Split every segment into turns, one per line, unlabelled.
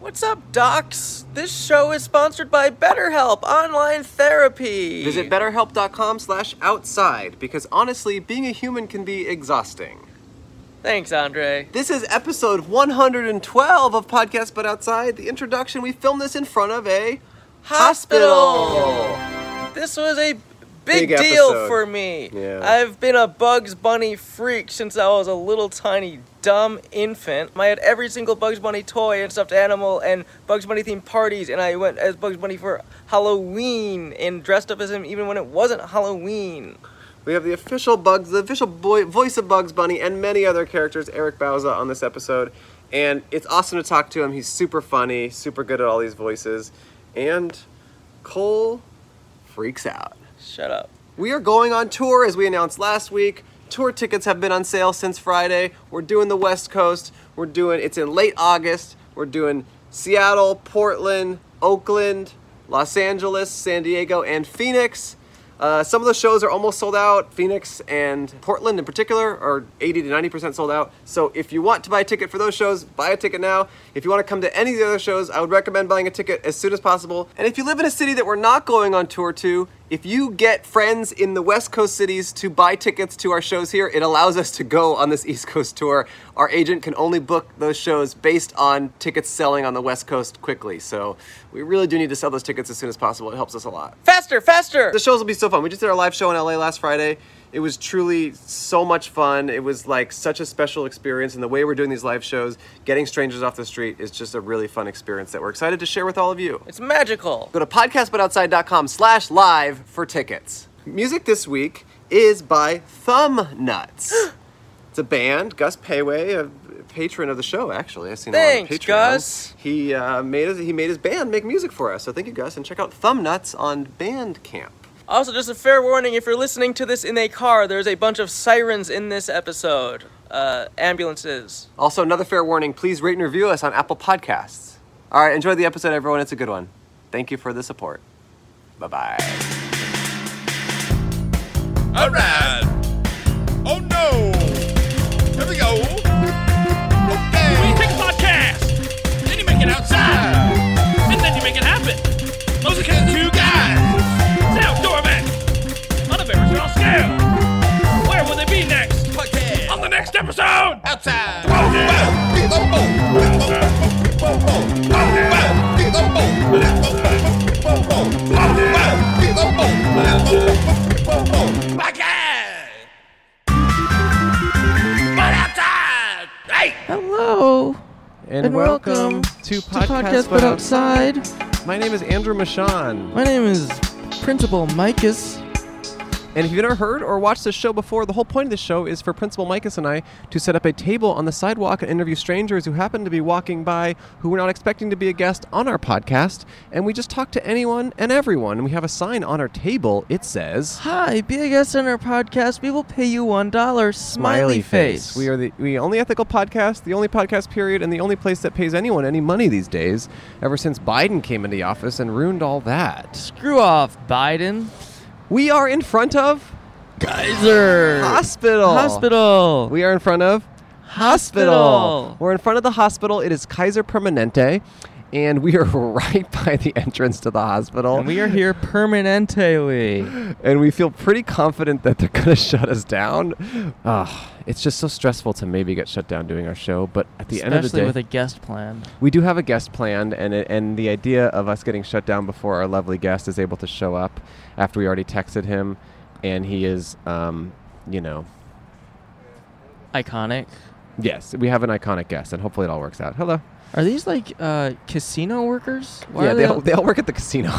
What's up, docs? This show is sponsored by BetterHelp Online Therapy.
Visit betterhelp.com slash outside because honestly, being a human can be exhausting.
Thanks, Andre.
This is episode 112 of Podcast But Outside, the introduction. We filmed this in front of a hospital.
This was a big,
Big
deal
episode.
for me.
Yeah.
I've been a Bugs Bunny freak since I was a little tiny dumb infant. I had every single Bugs Bunny toy and stuffed animal and Bugs Bunny themed parties, and I went as Bugs Bunny for Halloween and dressed up as him even when it wasn't Halloween.
We have the official Bugs, the official boy, voice of Bugs Bunny, and many other characters, Eric Bauza, on this episode. And it's awesome to talk to him. He's super funny, super good at all these voices. And Cole freaks out.
Shut up.
We are going on tour as we announced last week. Tour tickets have been on sale since Friday. We're doing the West Coast. We're doing it's in late August. We're doing Seattle, Portland, Oakland, Los Angeles, San Diego, and Phoenix. Uh, some of the shows are almost sold out. Phoenix and Portland, in particular, are 80 to 90 percent sold out. So if you want to buy a ticket for those shows, buy a ticket now. If you want to come to any of the other shows, I would recommend buying a ticket as soon as possible. And if you live in a city that we're not going on tour to, if you get friends in the West Coast cities to buy tickets to our shows here, it allows us to go on this East Coast tour. Our agent can only book those shows based on tickets selling on the West Coast quickly. So we really do need to sell those tickets as soon as possible. It helps us a lot.
Faster, faster!
The shows will be so fun. We just did our live show in LA last Friday. It was truly so much fun. It was like such a special experience. And the way we're doing these live shows, getting strangers off the street, is just a really fun experience that we're excited to share with all of you.
It's magical.
Go to podcastbutoutside.com slash live for tickets. Music this week is by Thumb Nuts. it's a band, Gus Payway, a patron of the show, actually. I've seen
Thanks,
him on Patreon.
Gus.
He, uh, made his, he made his band make music for us. So thank you, Gus. And check out Thumb Nuts on Bandcamp.
Also, just a fair warning if you're listening to this in a car, there's a bunch of sirens in this episode. Uh, ambulances.
Also, another fair warning please rate and review us on Apple Podcasts. All right, enjoy the episode, everyone. It's a good one. Thank you for the support. Bye bye.
All right. Oh no. Here we go. Okay.
Well, you take a podcast, then you make it outside, and then you make it happen. Those are kind of two guys. It's outdoor man. On a very small scale. Where will they be next?
Podcast.
On the next episode!
Outside.
Wow, wow,
Podcast.
But outside! Hey!
Hello and,
welcome
to
Outside.
My name is Andrew Michon,
My name is Principal Micus.
and if you've never heard or watched this show before, the whole point of this show is for Principal Micus and I to set up a table on the sidewalk and interview strangers who happen to be walking by, who we're not expecting to be a guest on our podcast, and we just talk to anyone and everyone. And we have a sign on our table. It says.
Hi, be a guest on our podcast. We will pay you one dollar. Smiley face.
We are the we only ethical podcast, the only podcast period, and the only place that pays anyone any money these days. Ever since Biden came into office and ruined all that,
Screw off, Biden.
we are in front of
Geyser.
hospital.
Hospital.
We are in front of hospital.
Hospital.
We're in front of the hospital. It is Kaiser Permanente, and we are right by the entrance to the hospital.
and we are here permanently.
and we feel pretty confident that they're going to shut us down. Ah, it's just so stressful to maybe get shut down doing our show, but at the
Especially
end of the day,
with a guest plan.
we do have a guest planned, and it, and the idea of us getting shut down before our lovely guest is able to show up after we already texted him, and he is, um, you know,
Iconic.
yes, we have an iconic guest, and hopefully it all works out. Hello.
Are these like uh, casino workers? Why
yeah,
are
they, all, they all work at the casino.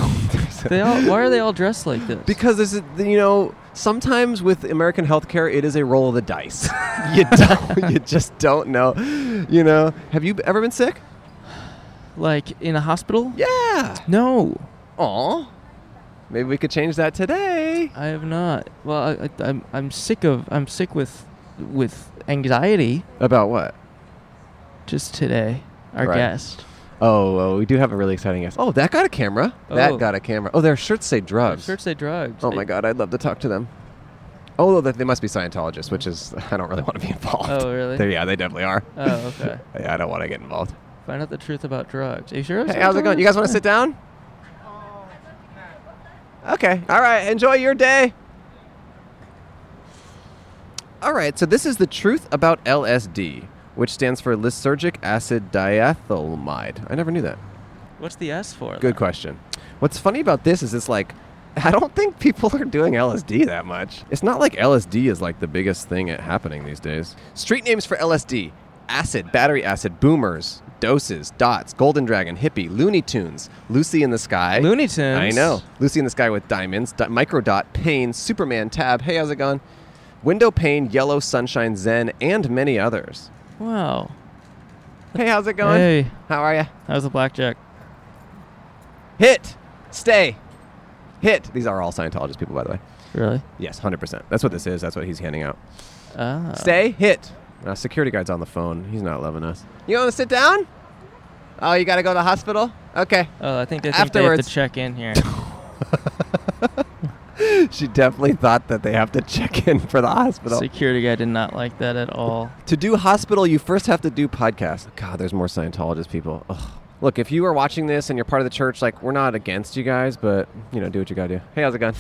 They all, why are they all dressed like this?
Because this is, you know, sometimes with American healthcare, it is a roll of the dice. you don't, you just don't know. You know, have you ever been sick?
like in a hospital?
Yeah.
No,
Aw. Maybe we could change that today.
I have not. Well, I, I, I'm I'm sick of I'm sick with with anxiety
About what?
just today. Our
Right.
guest.
Oh, well, we do have a really exciting guest. Oh, that got a camera.
Oh.
That got a camera. Oh, their shirts say
Our
drugs.
shirts say drugs.
oh
They-
my God, I'd love to talk to them. Although they- they must be Scientologists, which is I don't really want to be involved.
Oh, really?
They- yeah, they definitely are.
Oh okay.
Yeah, I don't want to get involved.
Find out the truth about drugs. Are you sure?
Hey, how's it going? You guys want to sit down? Okay. All right. Enjoy your day. All right. So this is the truth about LSD, which stands for lysergic acid diethylamide. I never knew that.
What's the S for?
Good question. What's funny about this is it's like I don't think people are doing LSD that much. It's not like LSD is like the biggest thing at happening these days. Street names for LSD: acid, battery acid, boomers, doses, dots, golden dragon, hippie, Looney Tunes, Lucy in the Sky.
Looney Tunes?
I know. Lucy in the Sky with diamonds, di- micro dot, pain, Superman, tab. Hey, how's it going? Window pane, yellow sunshine, zen, and many others.
Wow.
Hey, how's it going?
Hey.
how are ya?
How's the blackjack?
Hit, stay, hit. These are all Scientologist people, by the way.
Really?
Yes, 100%. That's what this is. That's what he's handing out.
Ah.
Stay, hit. Uh, security guard's on the phone. He's not loving us. You want to sit down? Oh, you got to go to the hospital? Okay.
Oh, I think they think they have to
Afterwards.
check in here.
She definitely thought that they have to check in for the hospital.
Security guy did not like that at all.
to do hospital, you first have to do podcast. God, there's more Scientologist people. Ugh. Look, if you are watching this and you're part of the church, like, we're not against you guys, but, you know, do what you got to do. Hey, how's it going?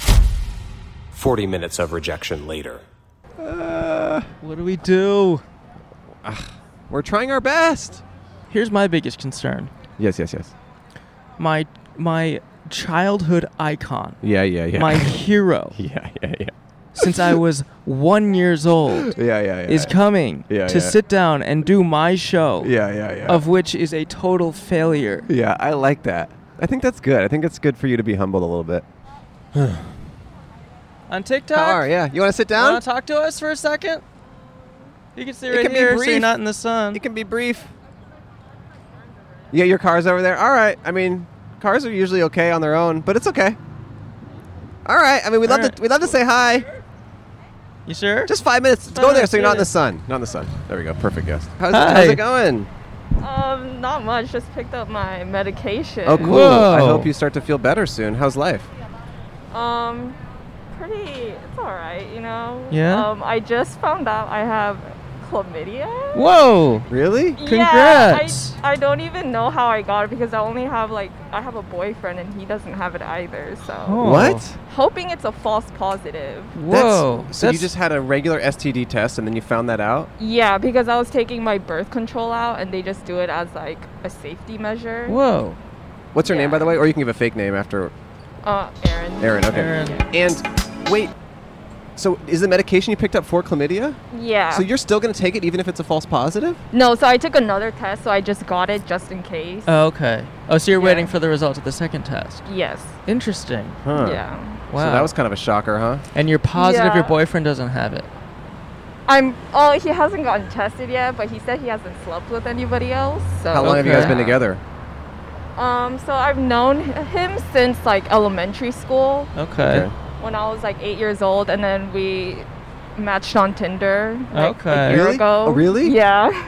40 minutes of rejection later.
What do we do?
We're trying our best.
Here's my biggest concern.
Yes, yes, yes.
My my childhood icon,
Yeah, yeah, yeah.
my hero
yeah, yeah, yeah.
since I was 1 years old
Yeah, yeah, yeah.
is coming
Yeah,
to
yeah.
sit down and do my show
yeah, yeah, yeah.
of which is a total failure.
Yeah, I like that. I think that's good. I think it's good for you to be humbled a little bit.
On TikTok?
Yeah, you want to sit
Want to talk to us for a second? You can sit right
can be
here, so you're
brief.
not in the sun.
It can be brief. Yeah, your car's over there. All right. I mean, cars are usually okay on their own, but it's okay. All right. I mean, we'd
All
love
right.
to we'd love to say hi.
you sure?
Just five minutes.
Five
go there,
minutes,
so you're not in the
minutes.
sun. Not in the sun. There we go. Perfect guess. How's,
Hi.
how's it going?
Um, not much. Just picked up my medication.
Oh, cool. I
Whoa.
hope you start to feel better soon. How's life?
Um, pretty. It's all right, you know.
Yeah?
Um, I just found out I have chlamydia.
Whoa!
Really?
Congrats.
Yeah, I, I don't even know how I got it because I only have like I have a boyfriend and he doesn't have it either. So
Oh.
What?
hoping it's a false positive.
Whoa!
That's, so you just had a regular STD test, and then you found that out?
Yeah, because I was taking my birth control out and they just do it as like a safety measure.
whoa,
What's her name,
Yeah.
by the way? Or you can give a fake name after
Uh, Aaron.
Aaron. Okay.
Aaron.
And wait, so is the medication you picked up for chlamydia?
Yeah.
So you're still going to take it even if it's a false positive?
no, so I took another test, so I just got it just in case.
Oh, okay. Oh, so you're
Yeah.
waiting for the results of the second test.
yes.
Interesting.
Huh.
Yeah.
Wow.
So that was kind of a shocker, huh?
and you're positive your
Yeah.
boyfriend doesn't have it.
I'm. Oh, he hasn't gotten tested yet, but he said he hasn't slept with anybody else. So.
How long have you guys
Okay.
been together?
Um. So I've known him since like elementary school
Okay.
when I was like eight years old, and then we matched on Tinder. Like,
Okay.
A year
Really?
ago.
Oh, really?
Yeah.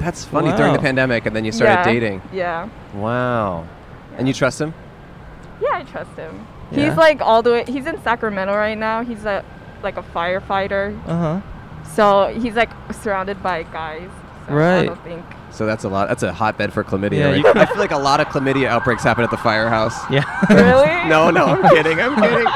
That's funny. During the
Wow.
pandemic, and then you started
yeah.
dating.
Yeah.
Wow. And you trust him?
Yeah, I trust him.
Yeah.
He's like all the way. He's in Sacramento right now. He's a like a firefighter,
Uh huh.
so he's like surrounded by guys. So I
Right.
don't think.
So that's a lot. That's a hotbed for chlamydia.
Yeah,
right
you
there. I feel like a lot of chlamydia outbreaks happen at the firehouse.
Yeah.
Really?
No, no, I'm kidding. I'm kidding.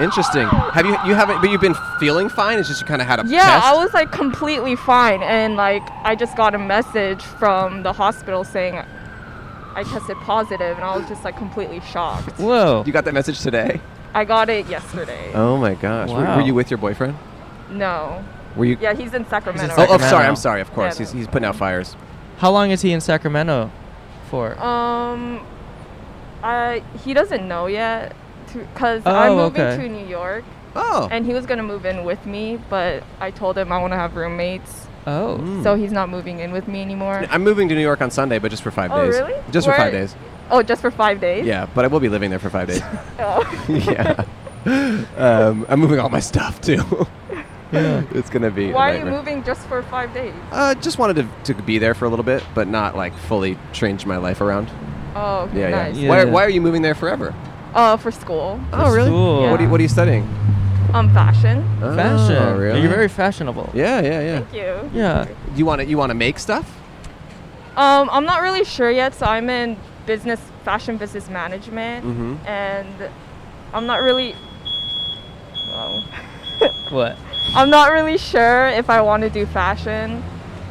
Interesting. Have you you haven't? But you've been feeling fine. It's just you kind of had a
Yeah,
test.
I was like completely fine, and like I just got a message from the hospital saying I tested positive, and I was just like completely shocked.
whoa.
You got that message today?
I got it yesterday.
Oh my gosh. Were- Were,
Wow.
you with your boyfriend?
No.
Were you?
Yeah, he's in Sacramento.
Oh, oh,
right
sorry.
Sacramento.
I'm sorry. Of course,
Yeah,
he's,
no.
he's putting out fires.
How long is he in Sacramento for?
now. Um, I he doesn't know yet, because
Oh,
I'm moving
okay.
to New York,
Oh,
and he was gonna move in with me, but I told him I want to have roommates,
oh.
so he's not moving in with me anymore.
I'm moving to New York on Sunday, but just for five
Oh,
days.
really?
Just for
Where-
five days.
Oh, just for five days.
Yeah, but I will be living there for five days.
Oh.
yeah. Um, I'm moving all my stuff too. It's gonna be. a
Why are you
nightmare.
moving just for five days?
Uh, just wanted to, to be there for a little bit, but not like fully change my life around.
Oh,
Yeah,
nice.
yeah. Why,
Yeah.
why are you moving there forever?
Uh, for school.
Oh, really?
school.
What, are you, what are you studying?
Um, fashion.
Fashion.
Oh, really?
You're very fashionable.
Yeah, yeah, yeah.
Thank you.
Yeah.
You want to you want to make stuff?
Um, I'm not really sure yet. So I'm in business, fashion business management,
Mm-hmm.
and I'm not really. Wow.
What?
I'm not really sure if I want to do fashion.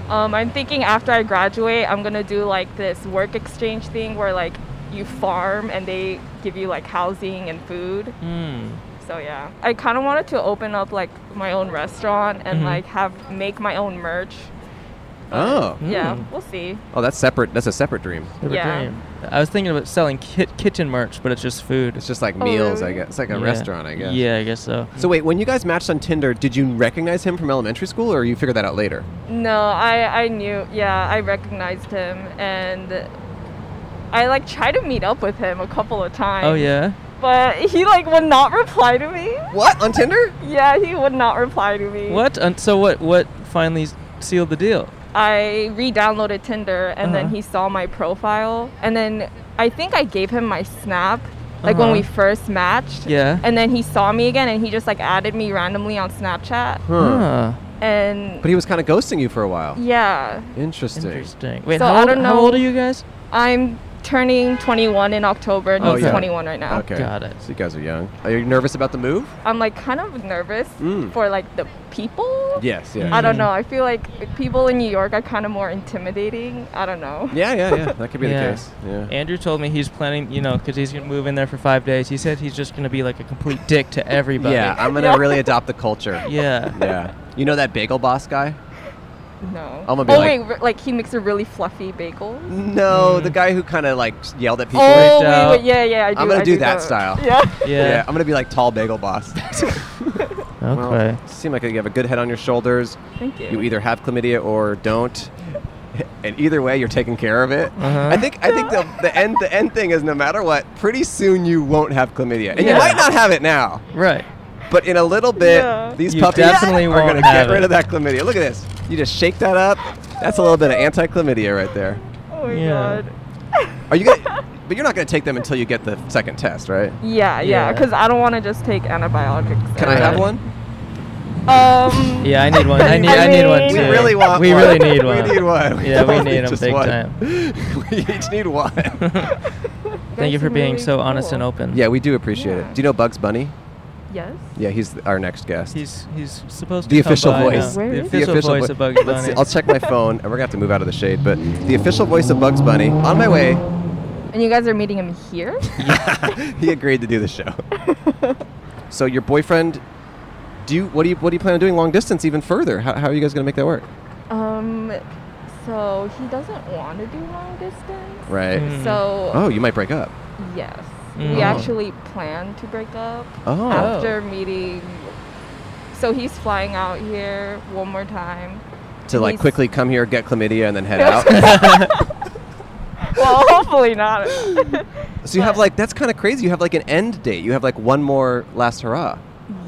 Um, I'm thinking after I graduate, I'm gonna do like this work exchange thing where like you farm and they give you like housing and food.
Hmm.
So yeah, I kind of wanted to open up like my own restaurant and
Mm-hmm.
like have make my own merch.
Oh.
Hmm.
Yeah, we'll see.
Oh, that's separate. That's a separate dream.
Never
Yeah.
dreamed. I was thinking about selling kit- kitchen merch, but it's just food.
It's just like meals, I
really?
guess. It's like a
Yeah.
restaurant, I guess.
Yeah, I guess so.
So wait, when you guys matched on Tinder, did you recognize him from elementary school, or you figured that out later?
No, I I knew. Yeah, I recognized him and I like tried to meet up with him a couple of times.
Oh yeah.
But he like would not reply to me.
What on Tinder?
Yeah, he would not reply to me.
What? And so what? What finally s- sealed the deal?
I re-downloaded Tinder and then
Uh-huh.
he saw my profile and then I think I gave him my snap like when we
Uh-huh.
first matched.
Yeah.
And then he saw me again and he just like added me randomly on Snapchat
Huh.
and
But he was kind of ghosting you for a while.
yeah,
Interesting.
Interesting. Wait,
So
how,
I
old,
don't
how old
know-
are you guys?
I'm turning 21 in October and
Oh,
he's
yeah.
21 right now.
Okay.
Got it.
So you guys are young. Are you nervous about the move?
I'm like kind of nervous
Mm.
for like the people.
Yes. Yeah.
I don't
Mm-hmm.
know. I feel like people in New York are kind of more intimidating. I don't know.
yeah. Yeah. Yeah. That could be
Yeah.
the case. Yeah.
Andrew told me he's planning, you know, because he's gonna move in there for five days. He said he's just gonna be like a complete dick to everybody.
Yeah. I'm gonna really adopt the culture.
Yeah.
Yeah. You know that bagel boss guy?
No.
I'm gonna be
oh
like-
wait, re- like he makes a really fluffy bagel.
No,
Mm.
the guy who kind of like yelled at people.
Oh
freaked
wait,
out.
wait, yeah, yeah. I do,
I'm gonna
I
do
do
that
know.
style.
Yeah.
Yeah.
Yeah, I'm gonna be like tall bagel boss. Well,
Okay.
seem like you have a good head on your shoulders.
Thank you.
You either have chlamydia or don't. And either way, you're taking care of it.
Uh-huh.
I think I think the, the end the end thing is no matter what, pretty soon you won't have chlamydia, and you
Yeah.
might not have it now,
right.
but in a little bit,
Yeah.
these
You
puppies
definitely
are
won't
gonna get
have
rid
it.
of that chlamydia. Look at this. You just shake that up. That's a little bit of anti-chlamydia right there.
Oh my
Yeah.
god.
Are you? Gonna, but you're not gonna take them until you get the second test, right?
Yeah, yeah.
Yeah.
Because I don't want to just take antibiotics.
Can I
Right.
have one?
Um.
Yeah, I need one. I need. I, need one
mean-
too.
We really want
We
one.
really need one.
We need one.
Yeah, we
don't
need 'em
just
big
one.
time.
we each need one.
Thank you
that's
for being
really
so honest
cool.
and open.
yeah, we do appreciate
Yeah.
it. Do you know Bugs Bunny?
Yes.
Yeah, he's th- our next guest.
He's he's supposed to
the
come
official
by
voice.
now.
Where
The
is
official, voice
vo-
of Bugs
Let's see,
Bunny.
I'll check my phone, and we're gonna have to move out of the shade. But the official voice of Bugs Bunny on my way.
And you guys are meeting him here?
he agreed to do the show. so your boyfriend, do you? What do you? What do you plan on doing long distance even further? How, how are you guys gonna make that work?
um. So he doesn't want to do long distance.
Right.
Mm.
So
Oh, you might break up.
yes,
Mm.
we actually plan to break up
Oh.
after meeting. So he's flying out here one more time.
To like
he's-
quickly come here, get chlamydia, and then head out.
Well, hopefully not.
So you have like that's kind of crazy. You have like an end date. You have like one more last hurrah.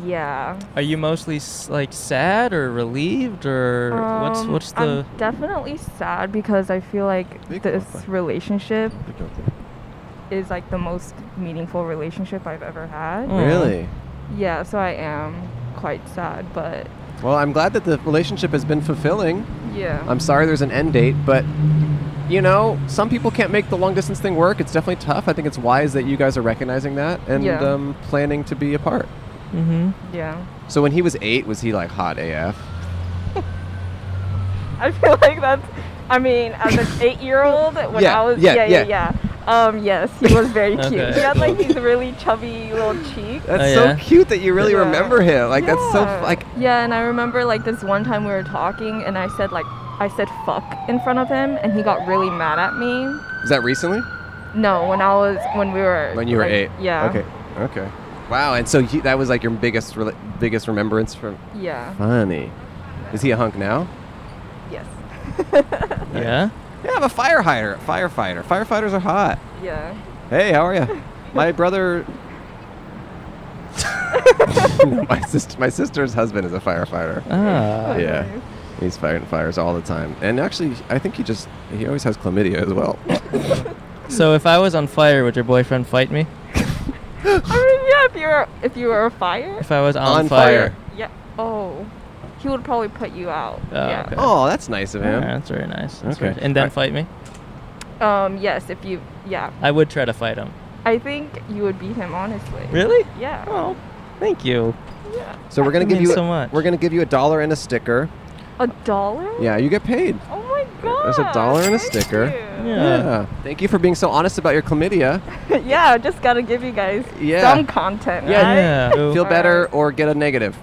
yeah.
Are you mostly s- like sad or relieved or Er, what's
Um,
what's the?
I'm definitely sad because I feel like
Big
this
motherfucker.
relationship is like the most meaningful relationship I've ever had.
Mm.
Really?
Yeah, so I am quite sad, but
Well, I'm glad that the relationship has been fulfilling.
yeah.
I'm sorry there's an end date, but you know, some people can't make the long distance thing work. It's definitely tough. I think it's wise that you guys are recognizing that and
Yeah.
um, planning to be apart.
Mm-hmm.
yeah.
So when he was eight, was he like hot AF?
I feel like that's. I mean, as an eight-year-old, when
Yeah,
I was
yeah,
yeah, yeah,
yeah.
yeah. Um, yes, he was very cute.
Okay.
He had like these really chubby little cheeks.
That's
Oh,
so
yeah?
cute that you really
Yeah.
remember him. Like that's so f-
Yeah.
like
Yeah, and I remember like this one time we were talking, and I said like I said fuck in front of him, and he got really mad at me.
is that recently?
No, when I was when we were
When you were
like,
eight.
Yeah.
Okay. Okay. Wow. And so he, that was like your biggest rela biggest remembrance from
Yeah.
Funny. Is he a hunk now?
Yes.
Yeah.
Yeah, I'm a fire hider, firefighter. Firefighters are hot.
Yeah.
Hey, how are you? My brother. my sister, my sister's husband is a firefighter.
Ah.
yeah, he's fighting fires all the time. And actually, I think he just he always has chlamydia as well.
So if I was on fire, would your boyfriend fight me?
I mean, yeah. If you were if you were a fire.
If I was on,
On fire.
Yeah. Oh. he would probably put you out.
Oh,
yeah.
okay.
Oh, that's nice of
Yeah,
him.
that's very nice. That's
Okay.
very- and then
Alright.
fight me.
Um, yes, if you, yeah.
I would try to fight him.
I think you would beat him, honestly.
Really?
Yeah.
Oh, thank you.
So we're gonna
That
give you
means
a,
so much.
we're gonna give you a dollar and a sticker.
A dollar?
Yeah, you get paid.
Oh my god.
There's a dollar and a
thank
sticker.
you.
Yeah.
Thank you for being so honest about your chlamydia.
Yeah. just gotta give you guys
Yeah.
some content,
Yeah.
right?
Yeah. So-
Feel
Alright.
better or get a negative.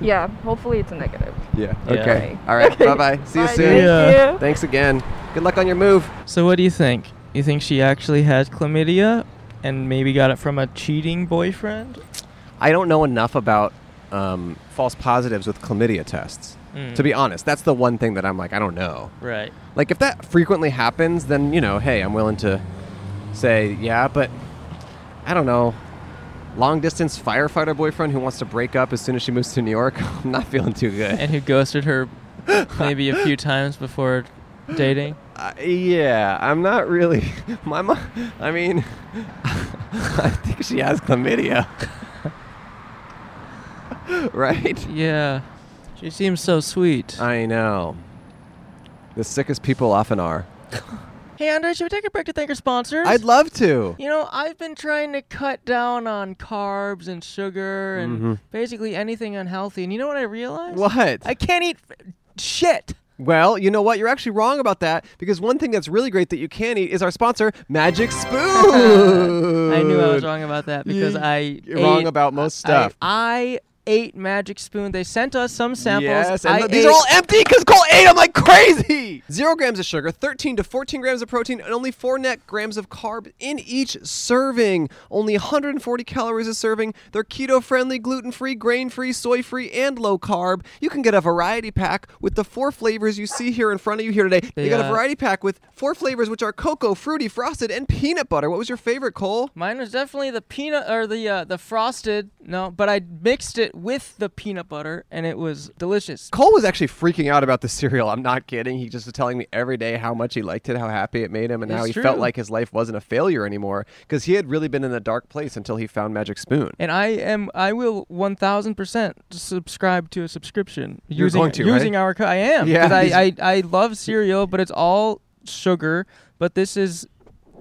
Yeah, hopefully it's a negative.
Yeah.
Yeah.
Okay. All right. Bye bye. See you
Bye,
soon.
Thank
Yeah.
you.
Thanks again. Good luck on your move.
So what do you think? You think she actually has chlamydia and maybe got it from a cheating boyfriend?
I don't know enough about um, false positives with chlamydia tests.
Mm.
To be honest, that's the one thing that I'm like, I don't know.
Right.
Like, if that frequently happens, then, you know, hey, I'm willing to say, yeah, but I don't know. Long distance firefighter boyfriend who wants to break up as soon as she moves to New York, I'm not feeling too good.
And who ghosted her maybe a few times before dating?
Uh, yeah, I'm not really. My mom, I mean, I think she has chlamydia. right?
Yeah. She seems so sweet.
I know. The sickest people often are.
hey Andre, should we take a break to thank our sponsors?
I'd love to.
You know, I've been trying to cut down on carbs and sugar and
Mm-hmm.
basically anything unhealthy. And you know what I realized?
What?
I can't eat f- shit.
well, you know what? You're actually wrong about that because one thing that's really great that you can eat is our sponsor, Magic Spoon.
I knew I was wrong about that because I
You're wrong
ate-
about most
I-
stuff.
I, ate Magic Spoon. They sent us some samples.
Yes, and
I
th- these
ate-
are all empty because Cole ate them like crazy. Zero grams of sugar, 13 to 14 grams of protein, and only four net grams of carb in each serving. Only 140 calories a serving. They're keto friendly, gluten free, grain free, soy free, and low carb. You can get a variety pack with the four flavors you see here in front of you here today. They
They,
got a
uh,
variety pack with four flavors, which are cocoa, fruity, frosted, and peanut butter. What was your favorite, Cole?
Mine was definitely the peanut or the uh, the frosted. No, but I mixed it with the peanut butter and it was delicious.
Cole was actually freaking out about the cereal. I'm not kidding. He just was telling me every day how much he liked it, how happy it made him, and how
It's
he
true.
felt like his life wasn't a failure anymore because he had really been in a dark place until he found Magic Spoon.
And I am I will 1000% subscribe to a subscription
You're
using
going to, right?
using our co- I am
Yeah,
'cause
these-
I, I I love cereal, but it's all sugar, but this is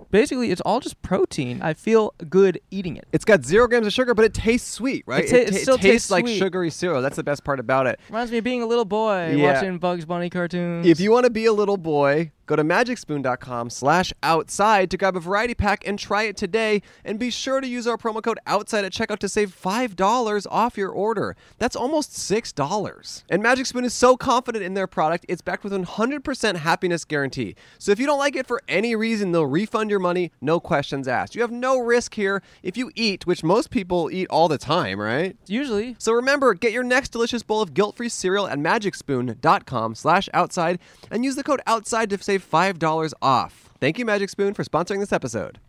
basically it's all just protein. I feel good eating it.
It's got zero grams of sugar, but it tastes sweet, right?
It ta- it
ta-
still
tastes,
tastes
like
sweet.
sugary cereal. That's the best part about it.
Reminds me of being a little boy
Yeah.
watching Bugs Bunny cartoons.
If you want to be a little boy, go to magicspoon.com slash outside to grab a variety pack and try it today. And be sure to use our promo code outside at checkout to save $5 off your order. That's almost $6. And Magic Spoon is so confident in their product, it's backed with 100% happiness guarantee. So if you don't like it for any reason, they'll refund your money, no questions asked. You have no risk here if you eat, which most people eat all the time, right?
usually
So remember, get your next delicious bowl of guilt-free cereal at magicspoon.com slash outside and use the code outside to save $5 off. Thank you, Magic Spoon, for sponsoring this episode.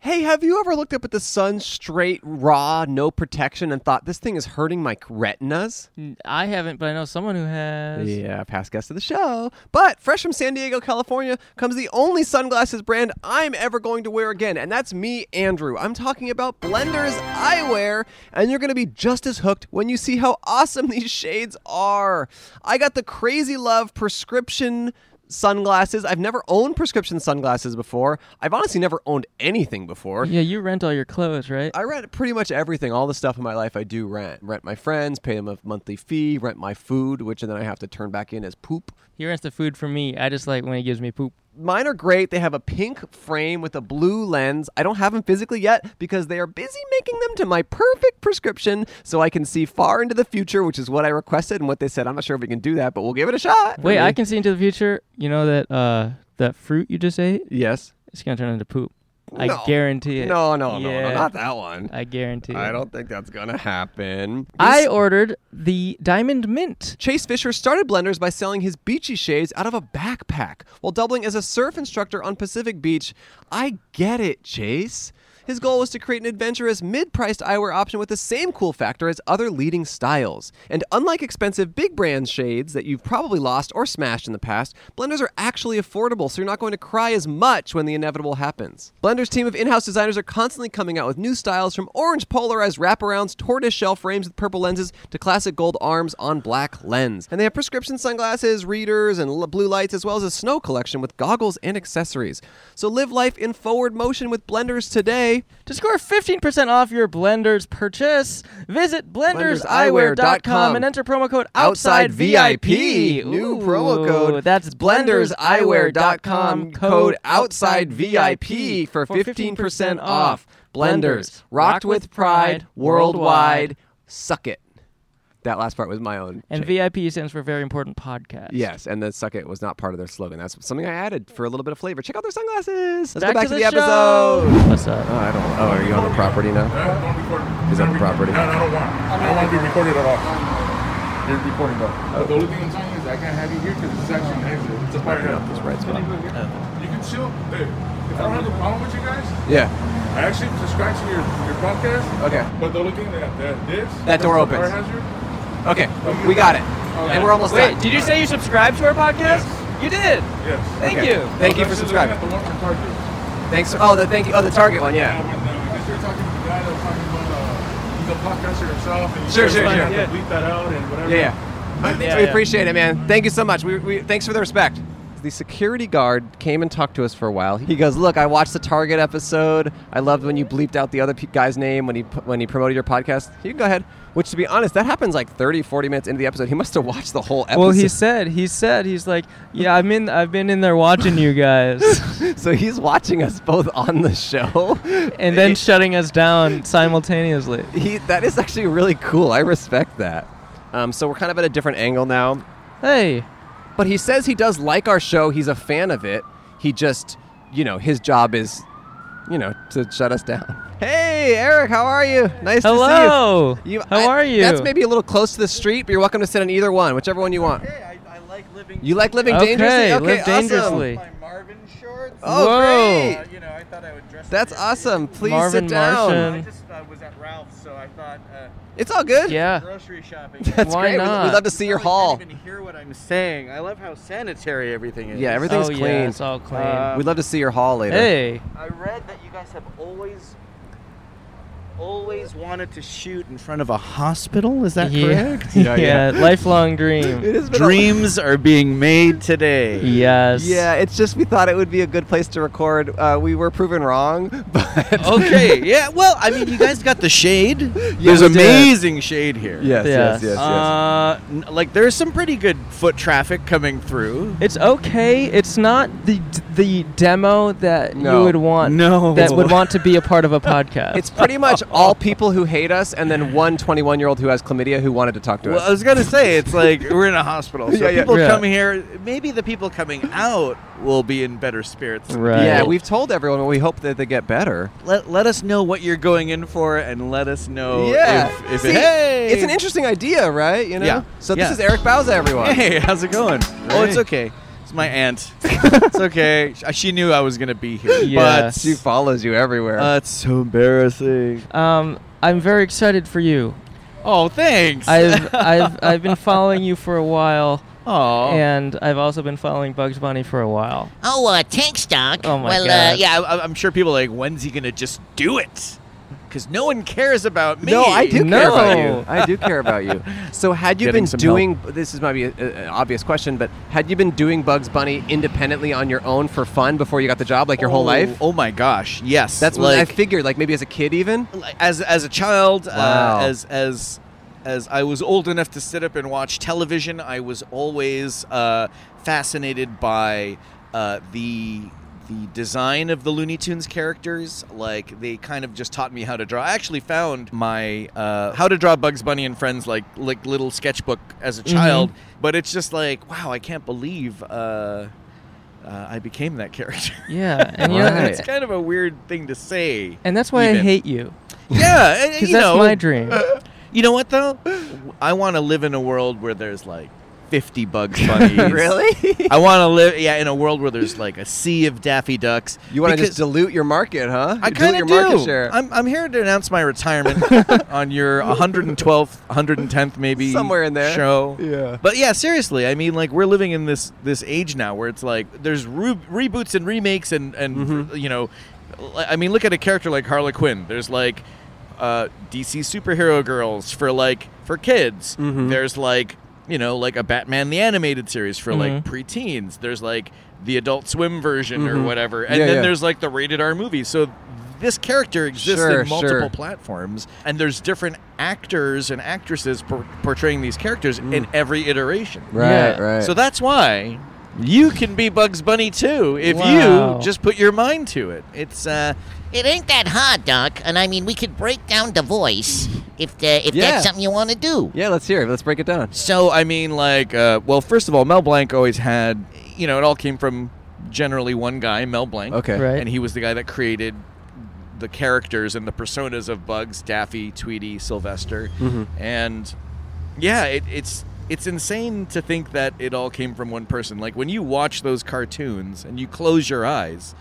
Hey, have you ever looked up at the sun straight, raw, no protection, and thought, this thing is hurting my retinas?
I haven't, but I know someone who has.
Yeah, past guest of the show. But fresh from San Diego, California, comes the only sunglasses brand I'm ever going to wear again, and that's me, Andrew. I'm talking about Blenders Eyewear, and you're going to be just as hooked when you see how awesome these shades are. I got the Crazy Love prescription sunglasses. I've never owned prescription sunglasses before. I've honestly never owned anything before.
Yeah, you rent all your clothes, right?
I rent pretty much everything. All the stuff in my life I do rent. Rent my friends, pay them a monthly fee, rent my food, which then I have to turn back in as poop.
He rents the food for me. I just like when he gives me poop.
Mine are great. They have a pink frame with a blue lens. I don't have them physically yet because they are busy making them to my perfect prescription so I can see far into the future, which is what I requested and what they said. I'm not sure if we can do that, but we'll give it a shot.
Wait, I
Really?
can see into the future. You know that uh that fruit you just ate?
Yes.
It's gonna turn into poop.
No.
I guarantee it.
No, no, no,
Yeah,
no, not that one.
I guarantee.
I
it.
don't think that's going to happen.
I ordered the diamond mint.
Chase Fisher started Blenders by selling his beachy shades out of a backpack while doubling as a surf instructor on Pacific Beach. I get it, Chase. His goal was to create an adventurous, mid-priced eyewear option with the same cool factor as other leading styles. And unlike expensive big brand shades that you've probably lost or smashed in the past, blenders are actually affordable, so you're not going to cry as much when the inevitable happens. Blender's team of in-house designers are constantly coming out with new styles from orange polarized wraparounds, tortoise shell frames with purple lenses, to classic gold arms on black lens. And they have prescription sunglasses, readers, and l- blue lights, as well as a snow collection with goggles and accessories. So live life in forward motion with blenders today.
To score 15% off your Blender's purchase, visit blenderseyewear.com and enter promo code
Outside
OUTSIDEVIP.
VIP. New promo code.
That's
blenderseyewear.com,
blenderseyewear.com
code OUTSIDEVIP for 15% off. Blenders, rocked with pride, worldwide. Suck it. That last part was my own.
And
change.
VIP stands for very important podcast.
Yes, and the suck it was not part of their slogan. That's something I added for a little bit of flavor. Check out their sunglasses. Let's go
Back,
back
to,
to,
the,
episode.
show. What's up?
Oh, I don't. Oh, are you on the property now? Is that the property?
No, no, I don't want. I don't want to be recorded at all. It's recording though. The only thing I'm saying is I can't have you here because it's actually an exit. It's a fire
Up
hill.
this right spot.
You can chill. Hey, if I don't have a problem with you guys,
Yeah.
I actually subscribe to your, your podcast.
Okay.
But the only thing that, that this
That door opens.
Fire hazard.
Okay. We got it. And we're almost
Wait,
done.
did you say you subscribe to our podcast? You did.
Yes.
Thank
Okay.
you.
Thank you for subscribing. Thanks. Oh, the thank you. Oh, the Target one. Yeah.
uh,
Sure, sure, sure.
Yeah. Bleep that out and whatever.
Yeah, yeah.
Yeah,
we
yeah.
appreciate it, man. Thank you so much. We, we thanks for the respect. The security guard came and talked to us for a while. He goes, "Look, I watched the Target episode. I loved when you bleeped out the other pe- guy's name when he pu- when he promoted your podcast. You can go ahead." Which, to be honest, that happens like 30, 40 minutes into the episode. He must have watched the whole episode.
Well, he said, he said, he's like, yeah, I'm in, I've been in there watching you guys,
so he's watching us both on the show,
and then shutting us down simultaneously.
he that is actually really cool. I respect that. Um, so we're kind of at a different angle now.
Hey,
But he says he does like our show. He's a fan of it. He just, you know, his job is, you know, to shut us down. Hey, Eric, how are you? Nice
hello.
to see you. you
How
I-
are you?
That's maybe a little close to the street, but you're welcome to sit on either one, whichever one you want.
I, I like living
You like living
Okay,
dangerously?
live
Okay, awesome.
dangerously.
my Marvin shorts.
Oh,
Whoa.
Uh,
great.
you know, I thought I would dress.
That's
up as-
awesome. Please
Marvin
sit down.
Martian.
I just uh, was at Ralph's, so I thought uh,
It's all good.
Yeah.
grocery shopping.
That's
Why
great. We- We'd
not?
love to see your haul.
I can't even hear what I'm saying. I love how sanitary everything is.
Yeah, everything's
oh,
clean.
Yeah, it's all clean.
Uh,
We'd love to see your haul later.
hey.
I read that you guys have always, always wanted to shoot in front of a hospital. Is that
yeah.
correct?
Yeah, lifelong dream.
It has been a-
Dreams are being made today.
yes.
Yeah, it's just we thought it would be a good place to record. Uh, we were proven wrong, but
okay. Yeah. Well, I mean, you guys got the shade. There's
we did.
amazing shade here.
Yes, yes, yes,
Yes.
yes.
Uh, n- like there's some pretty good foot traffic coming through.
It's okay. It's not the the demo that
No.
you would want.
No.
That would want to be a part of a podcast.
it's pretty much all people who hate us, and then one 21 year old who has chlamydia who wanted to talk to
Well, I
us.
was gonna say it's like we're in a hospital, so
Yeah, yeah.
people
Yeah.
come here. Maybe the people coming out will be in better spirits.
right.
Yeah, we've told everyone, but we hope that they get better.
Let, let us know what you're going in for, and let us know Oh, if, if
See,
it, hey,
it's an interesting idea, right? You know.
Yeah.
So
Yeah.
this is Eric Bauza, everyone.
Hey, how's it going? Oh, it's
Hey.
okay. It's my aunt. it's okay. Sh- She knew I was gonna be here,
Yeah.
She follows you everywhere.
but uh, it's so embarrassing.
um, I'm very excited for you.
Oh, thanks.
I've I've I've been following you for a while,
oh,
and I've also been following Bugs Bunny for a while.
Oh, uh, tank stock.
Oh my
well,
God.
Uh, yeah.
yeah. I, I'm sure people are like, when's he gonna just do it? Because no one cares about me.
No, I do care
No.
about you. I do care about you. So had you
Getting
been
some
doing this is maybe a- a- an obvious question, but had you been doing Bugs Bunny independently on your own for fun before you got the job, like your whole
Oh,
life?
Oh my gosh, yes.
That's what I
like
figured. Like maybe as a kid, even.
like, as as a child,
Wow.
uh, as as as I was old enough to sit up and watch television, I was always uh, fascinated by uh, the the design of the Looney Tunes characters. Like they kind of just taught me how to draw. I actually found my uh, how to draw Bugs Bunny and Friends like like little sketchbook as
Mm-hmm.
a child. But it's just like wow, I can't believe. Uh, uh, I became that character.
Yeah, and you know,
Right.
it's kind of a weird thing to say.
and that's why I
Even.
hate you
Yeah, and- and,
because
you
that's
know,
my dream.
You know what though? I want to live in a world where there's like 50 Bugs Bunnies.
Really?
I want to live, yeah, in a world where there's like a sea of Daffy Ducks.
You want to
Because-
just dilute your market, huh?
I
You dilute
kind
your
of
market
do.
share.
I'm, I'm here to announce my retirement on your 112th, 110th, maybe
Somewhere in there.
show.
Yeah.
But yeah, seriously, I mean, like we're living in this this age now where it's like there's re- reboots and remakes and and
Mm-hmm.
you know, li- I mean, look at a character like Harley Quinn. There's like uh, DC superhero girls for like for kids.
Mm-hmm.
There's like you know like a Batman the animated series for like
Mm-hmm.
preteens. There's like the Adult Swim version or whatever, and
Yeah,
then
yeah.
there's like the rated R movie. So this character exists
Sure,
in multiple
sure.
platforms, and there's different actors and actresses por- portraying these characters in every iteration.
Mm. right,
Yeah.
right.
So that's why you can be Bugs Bunny too if
Wow.
you just put your mind to it. It's uh,
It ain't that hard, Doc. And I mean, we could break down the voice if the, if
Yeah.
that's something you want to do.
yeah, let's hear it. Let's break it down.
so I mean like uh, well first of all Mel Blanc always had you know it all came from generally one guy Mel Blanc
Okay.
Right.
and he was the guy that created the characters and the personas of Bugs, Daffy, Tweety, Sylvester,
Mm-hmm.
and yeah, it, it's it's insane to think that it all came from one person. Like when you watch those cartoons and you close your eyes,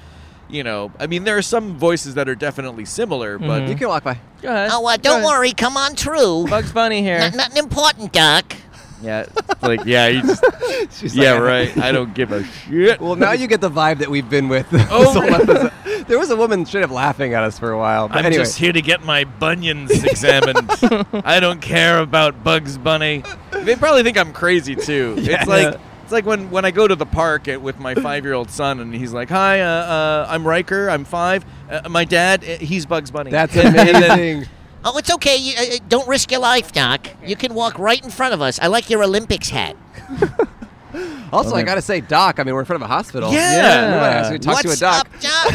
you know, I mean, there are some voices that are definitely similar, but
You can walk by.
Go ahead.
Oh, uh,
Go
don't
ahead.
worry. Come on true.
Bugs Bunny here.
Not, nothing important, Doc.
yeah, it's like yeah, you just,
She's
yeah,
like-
right. I don't give a shit.
Well, now you get the vibe that we've been with. this
Oh,
whole
really?
episode. there was a woman straight up laughing at us for a while. But
I'm
anyway,
just here to get my bunions examined. I don't care about Bugs Bunny. They probably think I'm crazy too.
Yeah.
it's like it's like when, when I go to the park at, with my five year old son and he's like, "Hi, uh, uh, I'm Riker. I'm five. Uh, my dad, uh, he's Bugs Bunny."
that's
And then-
amazing.
Oh, it's okay. You, uh, uh, don't risk your life, Doc. You can walk right in front of us. I like your Olympics hat.
also, I gotta say, Doc. I mean, we're in front of a hospital.
Yeah.
we might ask you to talk
What's
to a doc.
up,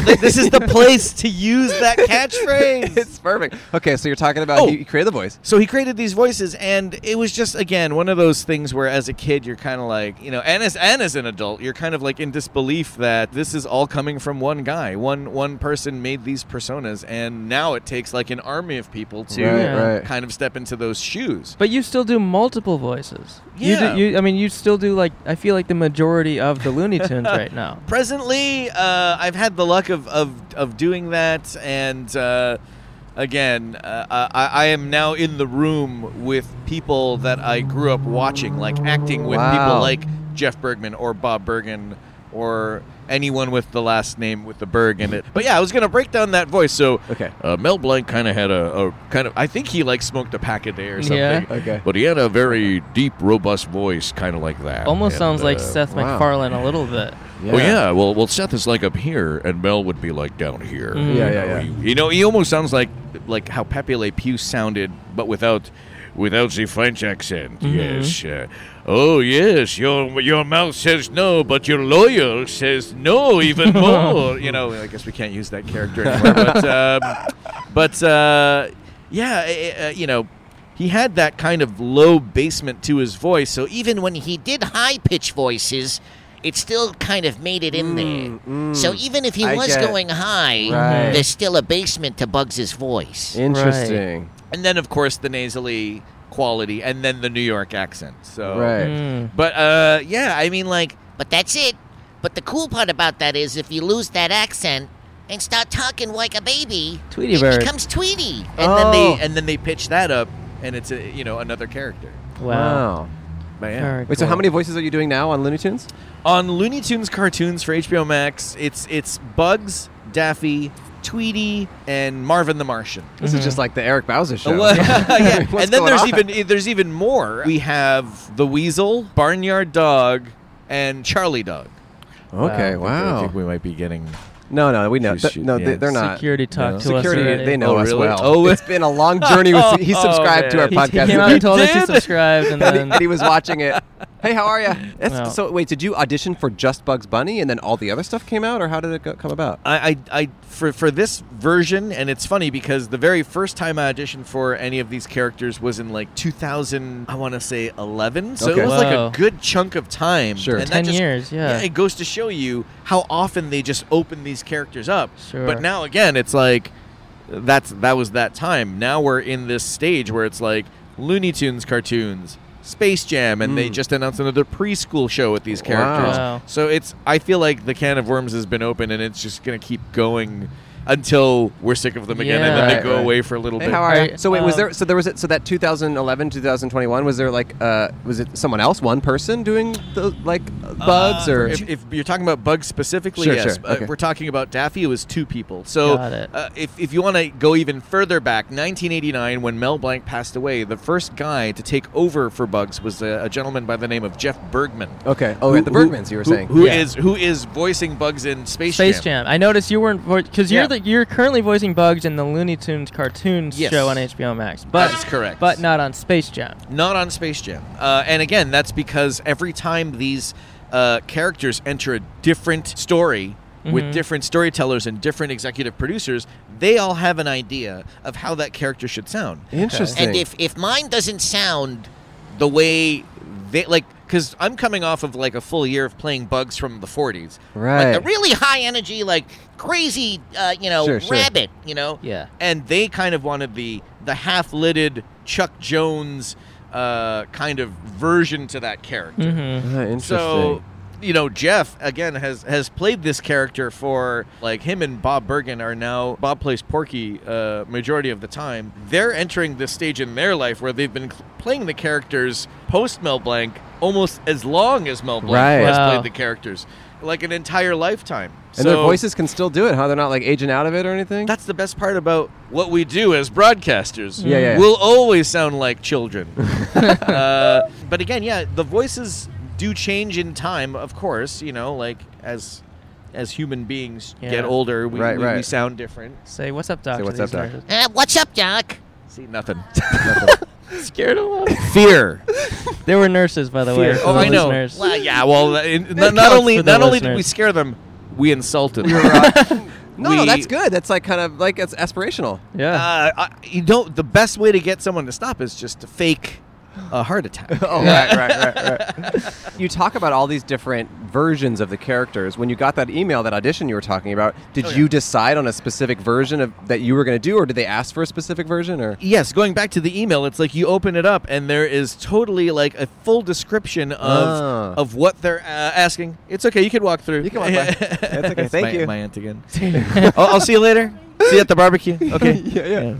Doc?
this is the place to use that catchphrase.
It's perfect. Okay, so you're talking about
Oh.
you, you created the voice.
So he created these voices, and it was just again one of those things where, as a kid, you're kind of like, you know, and as and as an adult, you're kind of like in disbelief that this is all coming from one guy, one one person made these personas, and now it takes like an army of people to
Right,
Yeah.
right.
kind of step into those shoes.
But you still do multiple voices. You
Yeah.
do, you, I mean, you still do like I feel like the majority of the Looney Tunes right now.
Presently, uh, I've had the luck of of, of doing that, and uh, again, uh, I, I am now in the room with people that I grew up watching, like acting with
Wow.
people like Jeff Bergman or Bob Bergen or anyone with the last name with the Berg in it. But yeah, I was gonna break down that voice. So
Okay.
uh, Mel Blanc kind of had a, a kind of I think he like smoked a pack a day or something.
Yeah.
Okay.
But he had a very deep, robust voice, kind of like that.
Almost
And,
sounds like
uh,
Seth
wow.
MacFarlane a little bit.
well, Oh, yeah. Well, well, Seth is like up here, and Mel would be like down here.
Mm-hmm. Yeah, yeah, yeah.
You, know, he, you know, he almost sounds like like how Pepe Le Pew sounded, but without without the French accent.
Mm-hmm.
Yes. Uh, oh, yes. Your your mouth says no, but your lawyer says no even more. you know. I guess we can't use that character anymore. but um, but uh, yeah, uh, uh, you know. He had that kind of low basement to his voice, so even
even when he did high pitch voices, it still kind of made it in there. So even if he
Mm, I
was
get it.
going high,
Right.
there's still a basement to Bugs' voice.
Interesting.
and then of course the nasally quality and then the new york accent so
Right.
Mm.
but uh yeah i mean like
But that's it. But the cool part about that is if you lose that accent and start talking like a baby,
Tweety
it
Bird.
becomes Tweety.
and then
Oh.
they and then they pitch that up and it's a you know another character
Wow.
but yeah
Very
Wait, so
cool.
how many voices are you doing now on Looney Tunes?
on looney tunes cartoons for hbo max it's it's bugs daffy tweety and marvin the martian
This is just like the Eric Bowser show.
Well, Mm-hmm. yeah.
What's
and then
going
there's
on?
even there's even more we have the weasel barnyard dog and charlie dog
Okay,
i
wow.
think we might be getting
No, no, we know.
She's
Th- no,
shooting,
they,
yeah.
they're not.
Security talked to us.
Security,
already.
they know
Oh,
us
really?
well.
Oh,
it's been a long journey. With, he
Oh,
subscribed to our
man.
He- He
podcast.
came out and told us
did?
he subscribed, and
and, he,
then
and he was watching it. Hey, how are you?
Wow.
So wait, did you audition for Just Bugs Bunny, and then all the other stuff came out, or how did it go, come about?
I, I, I for for this version, and it's funny because the very first time I auditioned for any of these characters was in like 2000, I want to say 11. So
Okay.
it was
Wow.
like a good chunk of time.
Sure.
and that
10
just-
years, yeah.
It goes to show you how often they just open these characters up.
Sure.
But now again, it's like that's that was that time. Now we're in this stage where it's like Looney Tunes cartoons, Space Jam, and they just announced another preschool show with these characters.
Hmm. Wow.
So it's I feel like the can of worms has been open, and it's just gonna keep going until we're sick of them again, and then
Yeah.
they
Right,
go
right.
away for a little
Hey,
bit.
how are
Alright,
you? So wait, was
um,
there? So there was. A, so that 2011, 2021. Was there like? Uh, was it someone else? One person doing the like uh, bugs or?
Uh, Um, if, if you're talking about bugs specifically,
Sure,
yes.
sure,
Uh,
okay.
we're talking about Daffy. It was two people. So
Got it.
uh, if if you want to go even further back, 1989, when Mel Blanc passed away, the first guy to take over for Bugs was a, a gentleman by the name of Jeff Bergman.
okay. Oh,
Who-
at the Bergmans, you were
who-
saying.
who
Yeah.
is- who is voicing Bugs in Space,
Space Jam. I noticed you weren't because
Yeah.
you're the, you're currently voicing Bugs in the Looney Tunes cartoons
Yes.
show on HBO Max, but
is correct.
but not on Space Jam.
Not on Space Jam. Uh, and again, that's because every time these uh, characters enter a different story with different storytellers and different executive producers, they all have an idea of how that character should sound.
Interesting.
And if, if mine doesn't sound,
The way they like, because I'm coming off of like a full year of playing Bugs from the 40s.
right.
like a really high energy, like crazy, uh, you know,
Sure, sure.
rabbit, you know?
Yeah.
and they kind of wanted the the half lidded Chuck Jones uh, kind of version to that character.
Ah, interesting.
So, you know, Jeff again has has played this character for like him and Bob Bergen are now Bob plays Porky uh, majority of the time. They're entering this stage in their life where they've been cl- playing the characters post Mel Blanc almost as long as Mel Blanc
Right.
has
Wow.
played the characters, like an entire lifetime.
and their
So-
voices can still do it, huh? They're not like aging out of it or anything.
that's the best part about what we do as broadcasters.
Yeah, yeah.
We'll always sound like children. uh, but again, yeah, the voices do change in time, of course, you know, like as as human beings
Yeah.
get older, we,
Right,
we, we
right.
sound different.
Say what's up, Doc?
Say
to
what's
these
up, Doc.
nurses.
uh, what's up, Doc?
See nothing.
Scared a lot.
Fear.
There were nurses, by the way.
Fear.
for
Oh,
the
I know.
listeners.
Well, yeah. Well, that- in, not,
counts
not
for
only
the
not only did we
listeners.
scare them, we insulted. them.
no,
we-
no, that's good. That's like kind of like it's aspirational.
Yeah.
Uh, I, you know, the best way to get someone to stop is just to fake a heart attack.
Oh, right, right, right, right. you talk about all these different versions of the characters. When you got that email, that audition you were talking about,
Oh,
did you decide on a specific version of that you were going to do, or did they ask for a specific version? Or
yes, going back to the email, it's like you open it up and there is totally like a full description of
Ah.
of what they're uh, asking. It's okay, you can walk through. You
can walk by. That's okay, thank
my,
you.
My aunt again. oh, I'll see you later. See you at the barbecue. Okay.
Yeah, yeah.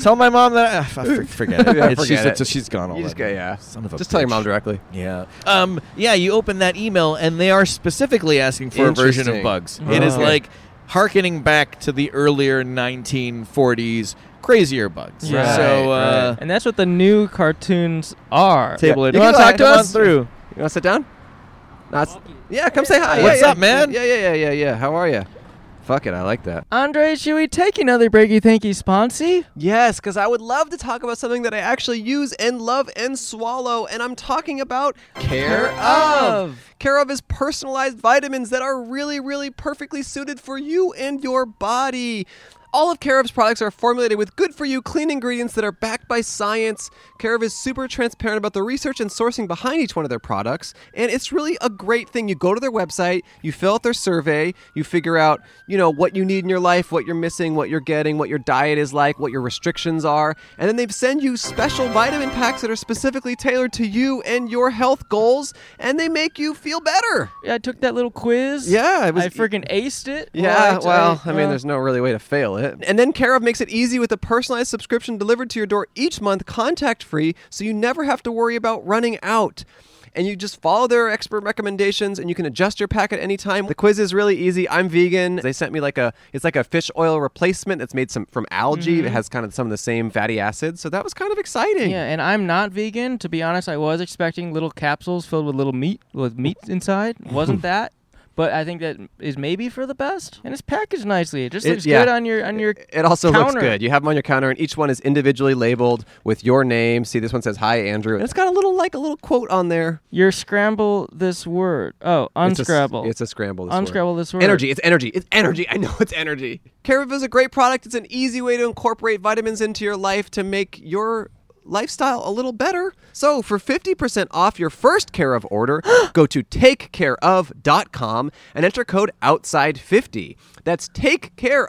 Tell my mom that I, ah, f- f- forget it.
Yeah,
It's- she's,
forget it.
it's- she's gone already.
you just go, yeah.
Son of a
just tell your
bitch.
mom directly.
Yeah. Um, yeah, you open that email and they are specifically asking for a version of
Interesting.
bugs. It is
Oh.
like harkening back to the earlier 1940s crazier bugs.
Right,
so uh,
and that's what the new cartoons are.
table
Yeah.
it.
You
You want
can
to talk
ride
to
them on
us?
through. You want to sit down? No, it's- yeah, come say hi. Yeah,
What's
yeah.
up, man?
Yeah, yeah, yeah, yeah, yeah. How are you? Fuck it, I like that.
Andre, should we take another breaky thanky sponsy?
Yes, because I would love to talk about something that I actually use and love and swallow, and I'm talking about Care of. Care of is personalized vitamins that are really, really perfectly suited for you and your body. All of Care of's products are formulated with good for you, clean ingredients that are backed by science. Care of is super transparent about the research and sourcing behind each one of their products, and it's really a great thing. You go to their website, you fill out their survey, you figure out, you know, what you need in your life, what you're missing, what you're getting, what your diet is like, what your restrictions are, and then they send you special vitamin packs that are specifically tailored to you and your health goals, and they make you feel better.
Yeah, I took that little quiz.
Yeah, it was-
I freaking aced it.
Yeah,
Well, I-
well, I
I-
mean,
uh,
there's no really way to fail it. And then Care of makes it easy with a personalized subscription delivered to your door each month, contact free, so you never have to worry about running out. And you just follow their expert recommendations and you can adjust your pack at any time. The quiz is really easy. I'm vegan. They sent me like a it's like a fish oil replacement that's made some from algae. It has kind of some of the same fatty acids. So that was kind of exciting.
Mm-hmm. Yeah, and I'm not vegan. To be honest, I was expecting little capsules filled with little meat with meat inside. Wasn't that? But I think that is maybe for the best, and it's packaged nicely. It just
It-
looks
yeah.
good on your on your.
It also looks
counter.
good. You have them on your counter, and each one is individually labeled with your name. See, this one says "Hi, Andrew," and it's got a little like a little quote on there.
Your scramble this word. Oh,
It's a s-
unscramble.
It's a, scramble. This
Unscramble
word.
this word.
Energy. It's energy. It's energy. I know it's energy. Care of is a great product. It's an easy way to incorporate vitamins into your life to make your lifestyle a little better. So for 50% off your first care of order, go to takecareof.com and enter code outside50. That's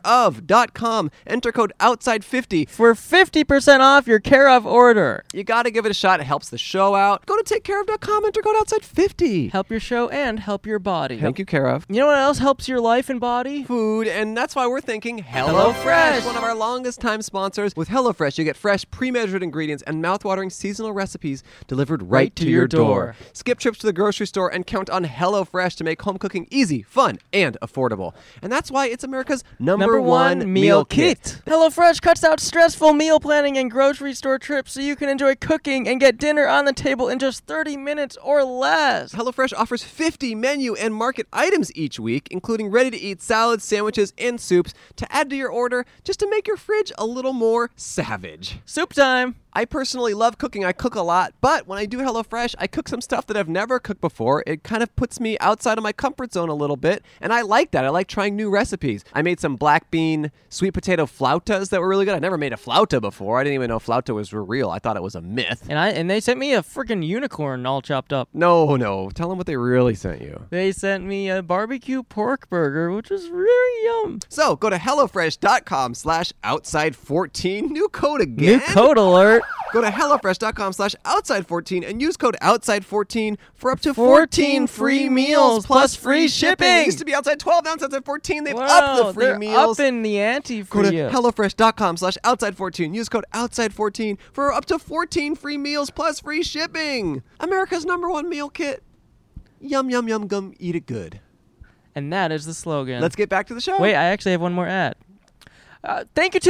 takecareof.com, enter code outside50.
For 50% off your care of order.
You got to give it a shot. It helps the show out. Go to takecareof.com, enter code outside50.
Help your show and help your body.
Thank you, Care of.
You know what else helps your life and body?
food, and that's why we're thinking
HelloFresh.
HelloFresh, one of our longest time sponsors. With HelloFresh, you get fresh, pre-measured ingredients and mouth-watering seasonal recipes delivered right, to, your door.
door.
Skip trips to the grocery store and count on HelloFresh to make home cooking easy, fun, and affordable. And that's why it's America's number,
Number one, meal kit. HelloFresh cuts out stressful meal planning and grocery store trips so you can enjoy cooking and get dinner on the table in just 30 minutes or less.
HelloFresh offers 50 menu and market items each week, including ready to eat salads, sandwiches, and soups to add to your order just to make your fridge a little more savage.
Soup time.
I personally love cooking. I cook a lot, but when I do HelloFresh, I cook some stuff that I've never cooked before. It kind of puts me outside of my comfort zone a little bit, and I like that. I like trying new recipes. I made some black bean sweet potato flautas that were really good. I never made a flauta before. I didn't even know flauta was real. I thought it was a myth.
And I and they sent me a freaking unicorn all chopped up.
No, no. Tell them what they really sent you.
They sent me a barbecue pork burger, which was really yum.
So go to HelloFresh.com slash outside14. New code again.
New code alert.
Go to HelloFresh.com slash outside14 and use code outside14 for up to 14 free meals plus free shipping. It used to be outside 12, now it's outside 14. They've upped the
Wow,
free
they're
meals.
upping the ante
Go
for
to
you.
HelloFresh.com slash outside14. Use code outside14 for up to 14 free meals plus free shipping. America's number one meal kit. Yum, yum, yum, gum. Eat it good.
and that is the slogan.
Let's get back to the show.
Wait, I actually have one more ad. Uh, thank you to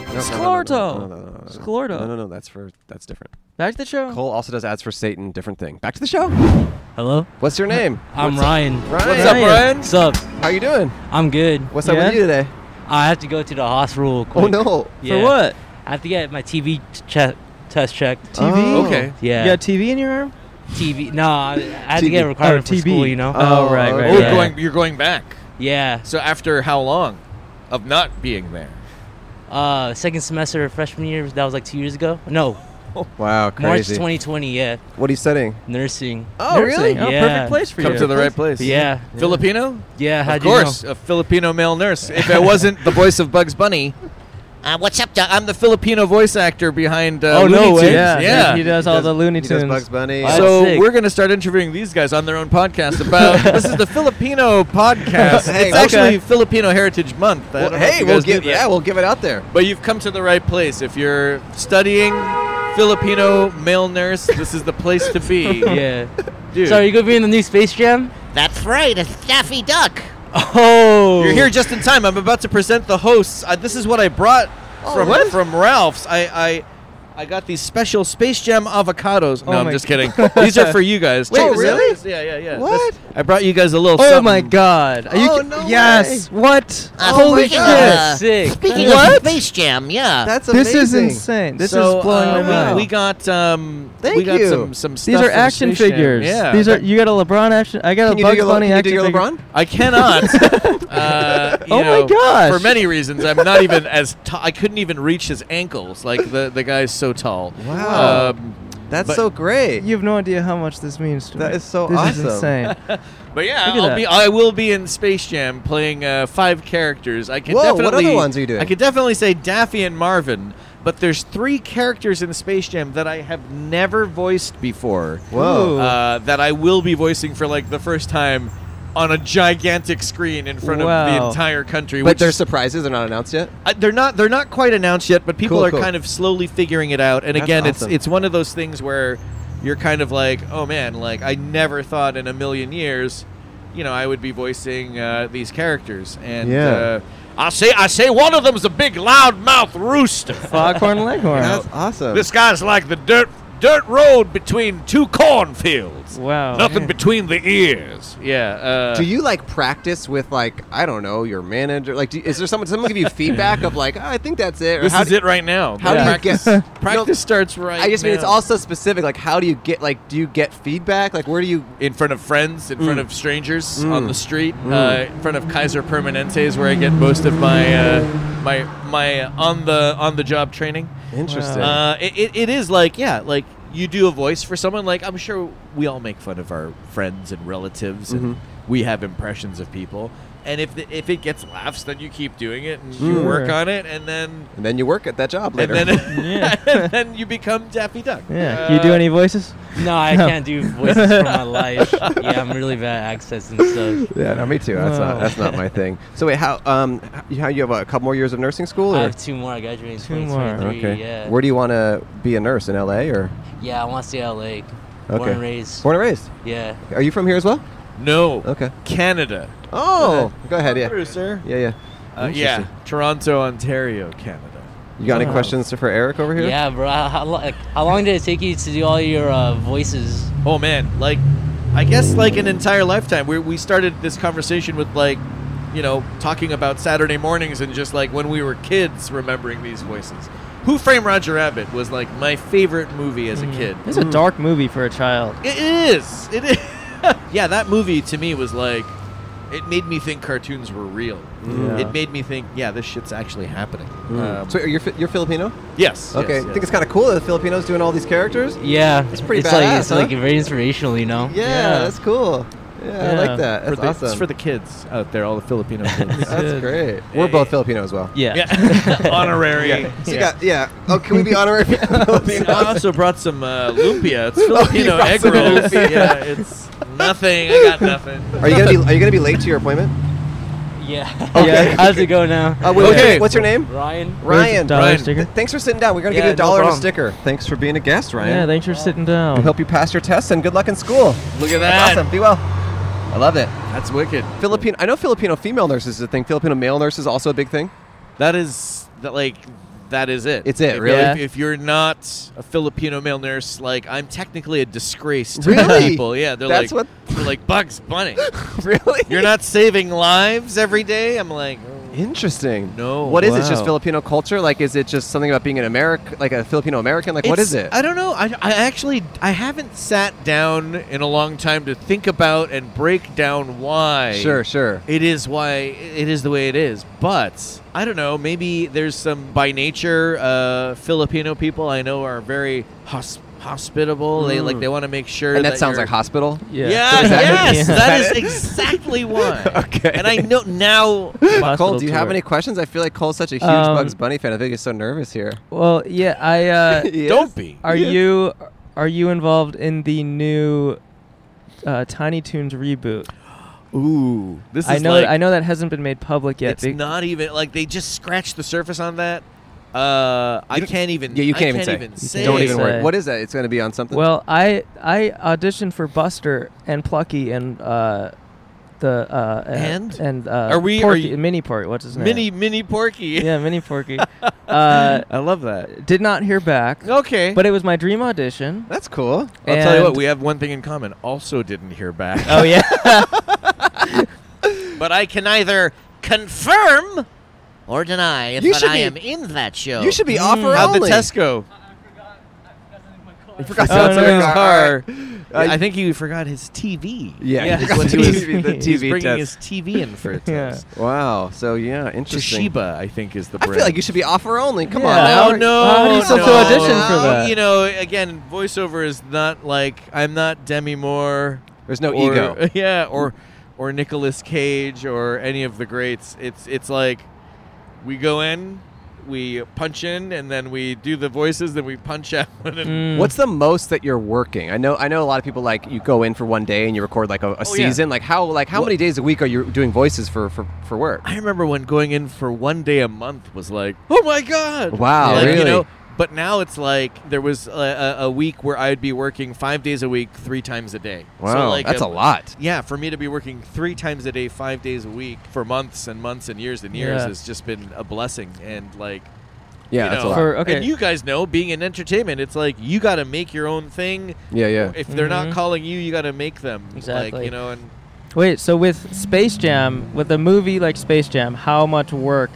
No, no,
Sklarto.
no, no, no, no, no.
Sklarto.
No, no, no. That's for that's different.
Back to the show.
Cole also does ads for Satan. Different thing. Back to the show.
Hello,
What's your name?
I'm
What's Ryan.
Ryan.
What's up, Ryan?
What's up?
How you doing?
I'm good.
What's up
Yeah?
with you today?
I have to go to the hospital. Quick.
Oh no.
Yeah.
For what?
I have to get my TV che- test checked.
TV?
Oh.
Okay.
yeah.
You got TV in your arm?
TV. No, I, I had to
TV.
get required for
TV.
school. You know.
Uh.
Oh, right,
Oh,
right,
Yeah.
you're going. You're going back.
yeah.
So after how long of not being there?
Uh, second semester of freshman year. That was like two years ago. No,
Wow,
March
crazy.
2020. Yeah,
What are you studying?
nursing.
Oh, really?
Oh,
Yeah.
perfect place for
Come
you.
to the right place.
Yeah.
Filipino?
Yeah. How'd
of course, a Filipino male nurse. If it wasn't the voice of Bugs Bunny,
Uh, what's up, Doc?
I'm the Filipino voice actor behind. Uh,
Oh, no
Looney
way.
Tunes.
Yeah,
yeah.
He does all the Looney
He does
Tunes.
Bugs Bunny.
Wow.
So
Sick.
we're gonna start interviewing these guys on their own podcast about this is the Filipino podcast.
Hey, okay.
it's actually Filipino Heritage Month. I
Well,
don't know if
hey,
you
we'll
guys knew
give
that.
yeah, we'll give it out there.
But you've come to the right place if you're studying Filipino male nurse. This is the place to be,
you know? Yeah.
dude.
So are you gonna be in the new Space Jam?
That's right, a Daffy Duck.
Oh.
You're here just in time. I'm about to present the hosts. Uh, this is what I brought
Oh,
from
what?
from Ralph's. I, I I got these special Space Jam avocados. No,
Oh
I'm
my
just kidding. these are for you guys.
Wait,
Check this out.
really?
This- Yeah, yeah, yeah. This-
What?
I brought you guys a little.
Oh
something.
my god. Are you
Oh,
ki-
no
yes. What?
Uh,
Holy
speaking
shit.
of, uh,
Sick.
Speaking
What?
of Space Jam, yeah.
That's
This
amazing.
is insane. This
So,
is blowing
uh,
my
we-
mind.
We got um. we
Thank
got
you.
some some.
These
stuff
are
from
action
Space Jam.
figures.
Yeah.
These are you got a LeBron action. I got
Can you
a
do
Bugs
your, Le-
Bunny
can you do
action
your
figure.
LeBron?
I cannot. uh, you
Oh my
know,
gosh.
For many reasons, I'm not even as t- I couldn't even reach his ankles. Like the the guy's so tall.
Wow.
Um,
That's
But-
so great.
You have no idea how much this means to me.
That is so
this
awesome.
Is insane.
but yeah,
Look at
I'll
that.
be I will be in Space Jam playing uh, five characters. I can
Whoa, what
definitely.
other ones are you doing?
I could definitely say Daffy and Marvin. But there's three characters in Space Jam that I have never voiced before.
Whoa.
Ooh.
uh, that I will be voicing for like the first time on a gigantic screen in front of the
Wow.
entire country.
But
which
their surprises are not announced yet.
I- they're not they're not quite announced yet, but people
Cool,
are
cool.
kind of slowly figuring it out. And
That's
again,
awesome.
it's it's one of those things where you're kind of like, oh man, like I never thought in a million years, you know, I would be voicing uh, these characters. And
Yeah.
uh, I say I say one of them's a big loudmouth rooster.
Foghorn Leghorn.
That's awesome.
This guy's like the dirt dirt road between two cornfields.
Wow.
Nothing between the ears. Yeah. Uh,
do you like practice with like I don't know your manager? Like, do, is there someone? Someone give you feedback of like oh, I think that's it. Or
this
how
is
do,
it right now.
How do
Yeah.
you
practice,
get?
practice
No,
starts right.
I just mean it's
now.
also specific. Like, how do you get? Like, do you get feedback? Like, where do you?
in front of friends, in front of strangers on the street,
Mm.
uh, in front of Kaiser Permanentes, where I get most of my uh, my my on the on the job training.
Interesting.
Uh, it, it, it is like yeah, like you do a voice for someone. Like I'm sure we all make fun of our friends and relatives, and
Mhm.
we have impressions of people. And if the, if it gets laughs, then you keep doing it and you
Mm. Sure.
work on it, and then
And then you work at that job
and
later.
then, and then you become Daffy Duck. Uh,
Yeah. you do any voices?
No, I can't do voices for my life. Yeah, I'm really bad at accents and stuff.
yeah, no, me too. That's not
Oh.
that's not my thing. So wait, how um h- how you have a couple more years of nursing school? Or? Oh,
I have two more. I graduate in
Two more.
2023.
okay.
Yeah.
Where do you want to be a nurse in L.A. or?
yeah, I want to stay at Lake.
Okay.
Born and raised.
Born and raised.
Yeah.
Are you from here as well?
No.
Okay.
Canada.
Oh, go ahead. Yeah.
sir.
Yeah, yeah.
Uh, yeah,
Interesting.
Toronto, Ontario, Canada.
You got
Uh-huh.
any
Wow.
questions for Eric over here?
Yeah, bro. How, how, lo- like, how long did it take you to do all your uh, voices?
Oh man, like I guess like an entire lifetime. We we started this conversation with like, you know, talking about Saturday mornings and just like when we were kids remembering these voices. Who Framed Roger Rabbit was like my favorite movie as a kid.
Mm. It's
Mm.
a dark movie for a child.
It is. It is. yeah, that movie to me was like it made me think cartoons were real.
Yeah.
It made me think, yeah, this shit's actually happening.
Mm.
Um,
so you're Fi- you're Filipino?
yes.
Okay.
yes,
I
yes.
think it's kind of cool that the Filipinos doing all these characters. Yeah,
Yeah,
It's pretty
It's like it's
badass,
like
huh?
very inspirational, you know.
Yeah.
that's cool. Yeah, I
Yeah.
like that.
for
That's
the,
awesome.
It's for the kids out there, all the Filipino kids.
that's great. We're both Filipino as well.
Yeah.
yeah. Honorary.
So you got yeah. Oh, can we be honorary Filipinos?
I also brought some uh, lumpia. It's
Oh, you
Filipino
brought
egg
some
rolls.
lumpia.
yeah, it's nothing. I got nothing.
Are you gonna be Are you gonna be late to your appointment?
Yeah.
Okay.
Yeah. How's it go now?
Uh, wait, wait,
Okay.
What's your name?
Ryan.
Ryan.
dollar
Ryan.
sticker?
Th- thanks for sitting down. We're gonna give
Yeah,
you a
no
dollar and a
problem.
sticker. Thanks for being a guest, Ryan.
Yeah, thanks for sitting
We
down.
hope you pass your tests and good luck in school.
Look at
That's awesome. Be well. I love it.
That's wicked.
Filipino. I know Filipino female nurses is a thing. Filipino male nurse is also a big thing.
That is that like that is it.
It's it,
If-
really?
If, if you're not a Filipino male nurse, like I'm technically a disgrace to
Really?
people. Yeah, they're
That's
like
what-
they're like Bugs Bunny.
really?
you're not saving lives every day. I'm like, "Oh,
Interesting.
No.
What is it? Just
Wow.
Filipino culture? Like, is it just something about being an American, like a Filipino American? Like, what
It's-
is it?
I don't know. I, I actually I haven't sat down in a long time to think about and break down why.
sure, sure.
It is why it is the way it is. But I don't know. Maybe there's some by nature uh, Filipino people I know are very hosp- hospitable. They like
Mm.
they want to make sure.
And that sounds
you're-
like hospital.
Yeah.
So is that it?
yes.
Yeah.
That
Is
is
that it?
exactly why.
Okay.
And I know now.
Cole,
Hospital
do you have
tour.
any questions? I feel like Cole's such a huge
Um,
Bugs Bunny fan. I think he's so nervous here.
Well, yeah, I uh
He
Don't
is?
be.
are you are you involved in the new uh, Tiny Toons reboot?
Ooh. This is
I know
Like,
I know that hasn't been made public yet.
it's
be-
not even like they just scratched the surface on that. Uh, I can't even.
Yeah, you
I
can't even say.
say.
Don't
it.
even worry.
Say.
What is that? It's going to be on something.
well, I I auditioned for Buster and Plucky and uh the uh
And?
and uh
Are we- are
Porky,
you-
mini Porky, what's his name?
Mini mini Porky.
Yeah, mini Porky. uh
I love that.
did not hear back.
Okay.
But it was my dream audition.
That's cool.
I'll tell you what,
And-
we have one thing in common. Also, didn't hear back.
Oh yeah.
but I can either confirm
Or deny if
You
that
should
I
be-
am in that show.
You should be
Mm.
offer
how the
only.
Tesco.
You forgot
Oh,
something
no,
in
no,
your
no.
car. Uh,
I think he forgot his TV.
Yeah,
Yeah,
you forgot
it's
to
what
do
he-
the TV, the
he's
He's
TV
bringing
test.
his TV in for a
Yeah.
test.
Wow. So yeah, interesting.
Toshiba, I think, is the
I
brand.
feel like you should be offer only. Come on.
Yeah.
now.
Oh no!
Why would you still
no.
have to audition for that?
You know, again, voiceover is not like I'm not Demi Moore.
There's no
or-
ego.
Yeah, or or Nicolas Cage or any of the greats. It's it's like we go in, we punch in, and then we do the voices, then we punch out. And
What's the most that you're working? I know I know a lot of people like you go in for one day and you record like a, a
Oh, yeah.
season. Like how like how many days a week are you doing voices for for, for work?
I remember when going in for one day a month was like, oh my god!
Wow,
Like,
really?
You know, but now it's like there was a, a, a week where I'd be working five days a week, three times a day. So,
Wow,
like, um,
that's a, lot.
Yeah, for me to be working three times a day, five days a week for months and months and years and years
Yeah.
has just been a blessing. And like,
Yeah,
you
that's
know,
a lot.
For- okay.
And you guys know, being in entertainment, it's like you got to make your own thing.
yeah, yeah.
If they're not
Mhm.
calling you, you got to make them. Like,
Exactly.
you know, and
Wait, so with Space Jam, with a movie like Space Jam, how much work,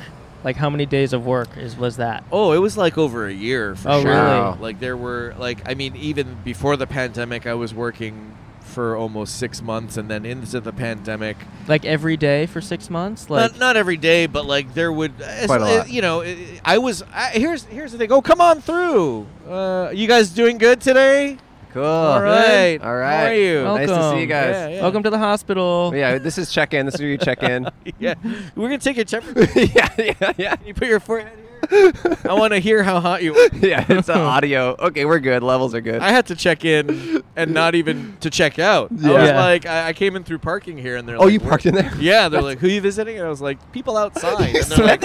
like how many days of work is was that?
Oh, it was like over a year for
Oh,
sure.
really? Wow.
Like there were like I mean even before the pandemic I was working for almost six months, and then into the pandemic.
Like every day for six months. Like
not, not every day, but like there would, as-
Quite a
uh,
lot.
you know, I- I was. I, here's here's the thing. Oh, come on through. Uh, you guys doing good today?
Cool.
All right.
All right.
How are you?
Nice to see you guys.
Yeah, yeah.
Welcome to the hospital.
Oh, Yeah, this is check in. This is where you check in.
yeah, we're gonna take your temperature.
yeah, yeah, yeah.
You put your forehead here. I want to hear how hot you. Are.
yeah, it's uh, audio. Okay, we're good. Levels are good.
I had to check in and not even to check out. I was
Yeah.
like, I, I came in through parking here, and they're
Oh,
like,
you
"Where-"
parked in there?
Yeah, they're like, who you visiting? And I was like, people outside. And they're like,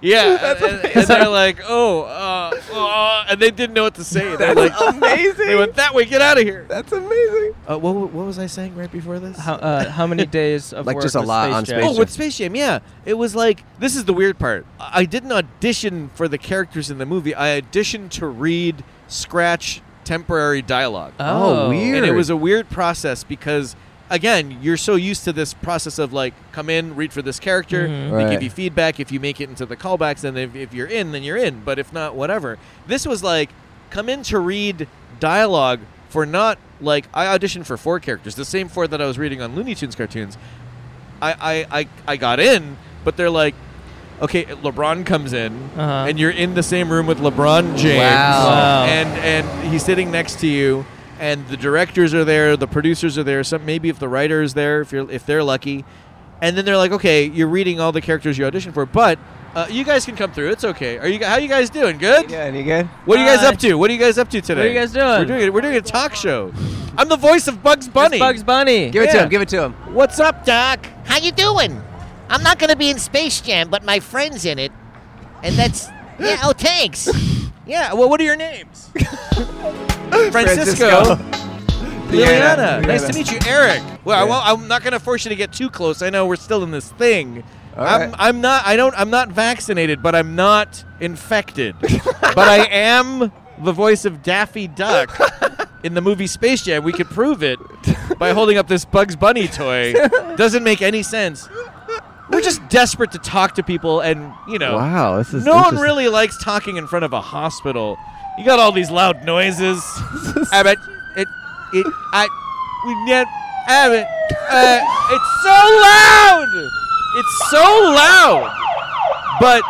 yeah, and, and- and they're like, oh, uh, uh," and they didn't know what to say. They're like,
amazing.
They went that way. Get out of here.
That's amazing.
Uh, what, what was I saying right before this?
How, uh, how many days of work with Space Jam?
Oh, with Space Jam, yeah. It was like this is the weird part. I I didn't audition for the characters in the movie. I auditioned to read scratch temporary dialogue.
Oh, Oh. weird.
And it was a weird process because again, you're so used to this process of like come in, read for this character,
Mhm.
they give
Right.
you feedback. If you make it into the callbacks, then if, if you're in, then you're in. But if not, whatever. This was like come in to read dialogue for not like I auditioned for four characters, the same four that I was reading on Looney Tunes cartoons. I I, I, I got in, but they're like, okay, LeBron comes in,
Uh-huh.
and you're in the same room with LeBron James,
Wow. Wow.
and and he's sitting next to you. And the directors are there, the producers are there. Some maybe if the writer is there, if you're if they're lucky, and then they're like, okay, you're reading all the characters you auditioned for, but uh, you guys can come through. It's okay. Are you? How you guys doing? Good.
Yeah, you good?
What are you guys
Hi.
up to? What are you guys up to today?
Uh, you guys doing?
We're doing we're doing a talk show. I'm the voice of Bugs Bunny.
Bugs Bunny.
Give it to
Yeah.
him. Give it to him.
What's up, Doc?
How you doing? I'm not gonna be in Space Jam, but my friend's in it, and that's yeah. Oh, thanks.
Yeah. Well, what are your names? Francisco.
Francisco.
Liliana.
Liliana.
Nice to meet you, Eric. Well, I
Yeah.
won't, I'm not going to force you to get too close. I know we're still in this thing.
All
I'm,
right.
I'm not. I don't. I'm not vaccinated, but I'm not infected. but I am the voice of Daffy Duck in the movie Space Jam. We could prove it by holding up this Bugs Bunny toy. Doesn't make any sense. We're just desperate to talk to people, and you know,
Wow, this is
no one
interesting.
really likes talking in front of a hospital. You got all these loud noises. I bet it, it, I, we get, I bet, uh, it's so loud. It's so loud. But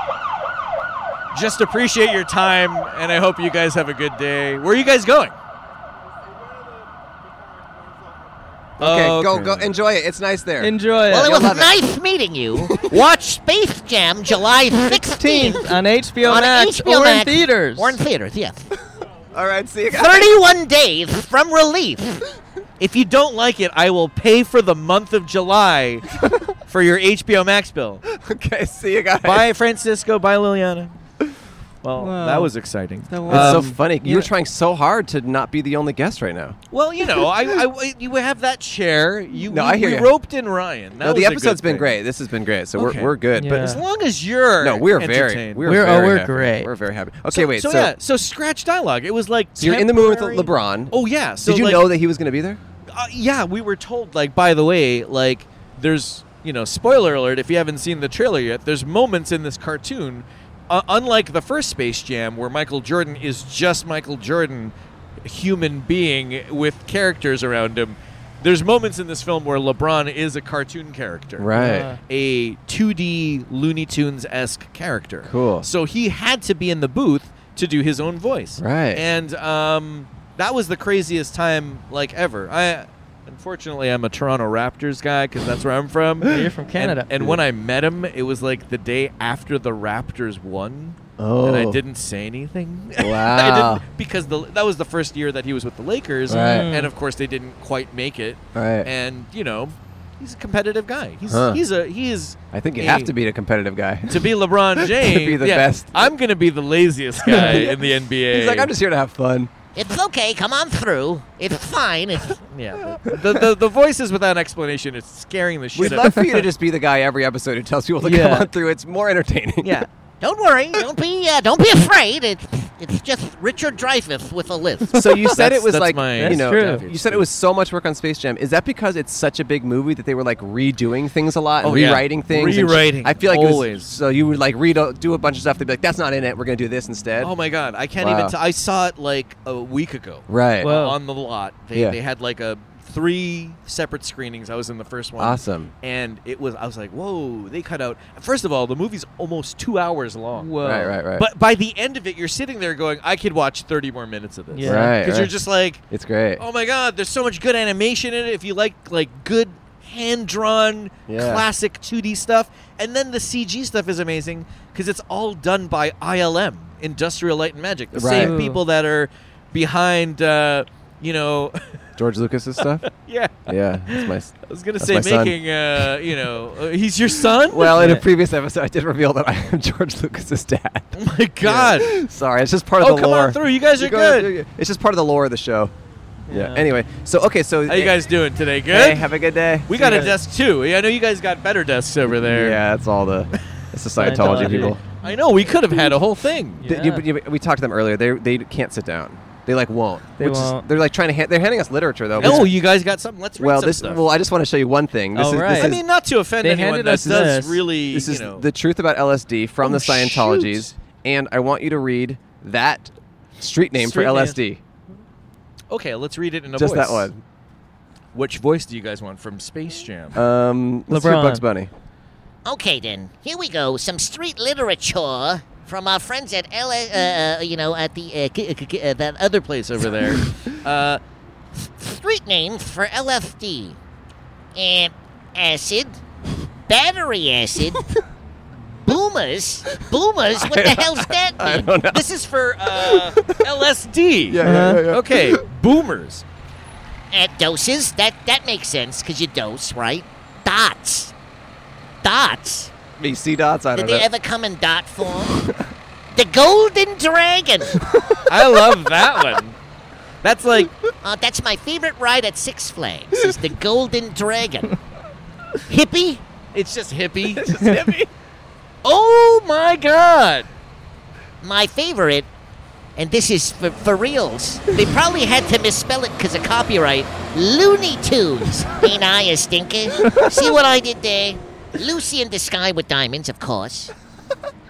just appreciate your time, and I hope you guys have a good day. Where are you guys going?
Okay, go go enjoy it. It's nice there.
Enjoy it.
Well, it was
love it.
nice meeting you.
Watch
Space Jam, July 16th
on HBO
on
Max
HBO
or
Max
in theaters.
Or in theaters, yes.
All right, see you guys.
31 days from relief.
If you don't like it, I will pay for the month of July for your HBO Max bill.
Okay, see you guys.
Bye, Francisco. Bye, Liliana. Well, that was exciting.
That
It's
was-
so
Um,
funny.
yeah.
You're trying so hard to not be the only guest right now.
Well, you know, I, I you have that chair. You,
No,
we,
I hear
we
ya.
roped in Ryan. That
no,
was
the
a good
episode's been
thing.
great. This has been great. So
Okay.
we're, we're good.
Yeah.
As long as you're
But no, we're very
entertained.
we're,
We're- oh,
very
we're
happy.
great.
We're very happy. Okay, wait. So,
so yeah, so scratch dialogue. It was like
so you're in the movie with
temporary-
LeBron.
Oh yeah. So
Did you
like,
know that he was going to be there?
uh, yeah, we were told like by the way, like there's you know spoiler alert if you haven't seen the trailer yet. There's moments in this cartoon, uh, unlike the first Space Jam where Michael Jordan is just Michael Jordan, a human being with characters around him. There's moments in this film where LeBron is a cartoon character
Right.
Yeah.
a 2D Looney Tunes esque character.
Cool.
So he had to be in the booth to do his own voice.
Right.
And um, that was the craziest time like ever. I unfortunately I'm a Toronto Raptors guy because that's where I'm from.
You're from
And-
Canada.
And, when I met him, it was like the day after the Raptors won. And I
Oh.
didn't say anything. I
Wow.
didn't because the, that was the first year that he was with the Lakers,
Right.
and of course they didn't quite make it.
Right.
And you know, he's a competitive guy. He's
Huh.
he's a he is.
I think you
a-
have to be a competitive guy.
to be LeBron James.
be the
yeah,
best.
I'm gonna be the laziest guy in the NBA.
He's like, I'm just here to have fun.
It's okay, come on through. It's fine. It's,
yeah. The, the the voices without explanation is scaring the shit.
We'd
out
love for you to just be the guy every episode who tells people to
Yeah.
come on through. It's more entertaining.
Yeah.
don't worry, don't be uh, don't be afraid. It's it's just Richard Dreyfuss with a list.
So you said
That's-
it was
that's
like
my-
you
That's
know
true.
you said it was so much work on Space Jam. Is that because it's such a big movie that they were like redoing things a lot, and
Oh, yeah.
rewriting things, and sh-
Rewriting,
I feel like it was-
always.
so you would like read a- do a bunch of stuff. They'd be like, "That's not in it. We're gonna do this instead."
Oh my god, I can't
Wow.
even. T- I saw it like a week ago
right.
Well- Wow.
on the lot. They
Yeah.
they had like a three separate screenings. I was in the first one.
Awesome.
And it was I was like, whoa, they cut out. First of all, the movie's almost two hours long.
Whoa. Right, right, right.
But by the end of it, you're sitting there going, I could watch 30 more minutes of this.
Yeah. Right,
Because you're
right.
just like,
It's great.
Oh my god, there's so much good animation in it. If you like like good hand drawn
Yeah.
classic 2D stuff, and then the CG stuff is amazing because it's all done by ILM, Industrial Light and Magic, the
Right.
same
Ooh.
people that are behind, uh, you know.
George Lucas's stuff.
Yeah.
Yeah, that's my. s-
I was gonna
that's
say
my son.
making, uh, you know, uh, he's your son.
Well, in a previous episode, I did reveal that I am George Lucas's dad.
Oh my God.
Sorry, it's just part of
Oh,
the
come
lore.
on through, you guys are
go-
good.
It's just part of the lore of the show. Yeah.
Yeah.
Anyway, so okay, so
How you guys doing today? Good.
Hey, have a good day.
We
See
got
you
a
guys.
desk too. I know you guys got better desks over there.
Yeah, it's all the it's the Scientology people.
I know. We could have had a whole thing.
Th- you- but you- we talked to them earlier. They they can't sit down. They like won't.
They
which is-
won't.
they're like trying to. hand they're handing us literature though.
Oh,
which-
you guys got something. Let's read
well,
some
this.
stuff.
Well, I just want to show you one thing. This
Oh,
is, this
right. I
is-
mean, not to offend They anyone, handed that us does this. really,
This
you
is
know- Oh,
the truth about LSD from the Scientologies, and I want you to read that street name
Street
for
name.
LSD.
okay, let's read it in a
Just
voice.
that one.
Which voice do you guys want from Space Jam?
Um, let's do
LeBron.
Bugs Bunny.
Okay, then. Here we go. Some street literature from our friends at L. Uh, uh, you know, at the uh, k- k- k- uh, that other place
over there. uh,
street name for LFD. Uh, acid, battery acid, boomers, boomers. What the hell's that?
I
mean?
don't know.
This is for uh,
LSD.
Yeah, yeah, yeah, yeah.
Okay, boomers.
at doses. That that makes sense because you dose, right? Dots, dots.
Me Oh, see dots. I
Did
don't
they
know.
ever come in dot form? the golden dragon.
I love that one. That's like
Uh, that's my favorite ride at Six Flags. Is the golden dragon. hippie.
It's just hippie.
Oh my god! My favorite, and this is for, for reals. They probably had to misspell it because of copyright. Looney Tunes. Ain't I a stinker? See what I did there? Lucy in the Sky with Diamonds, of course.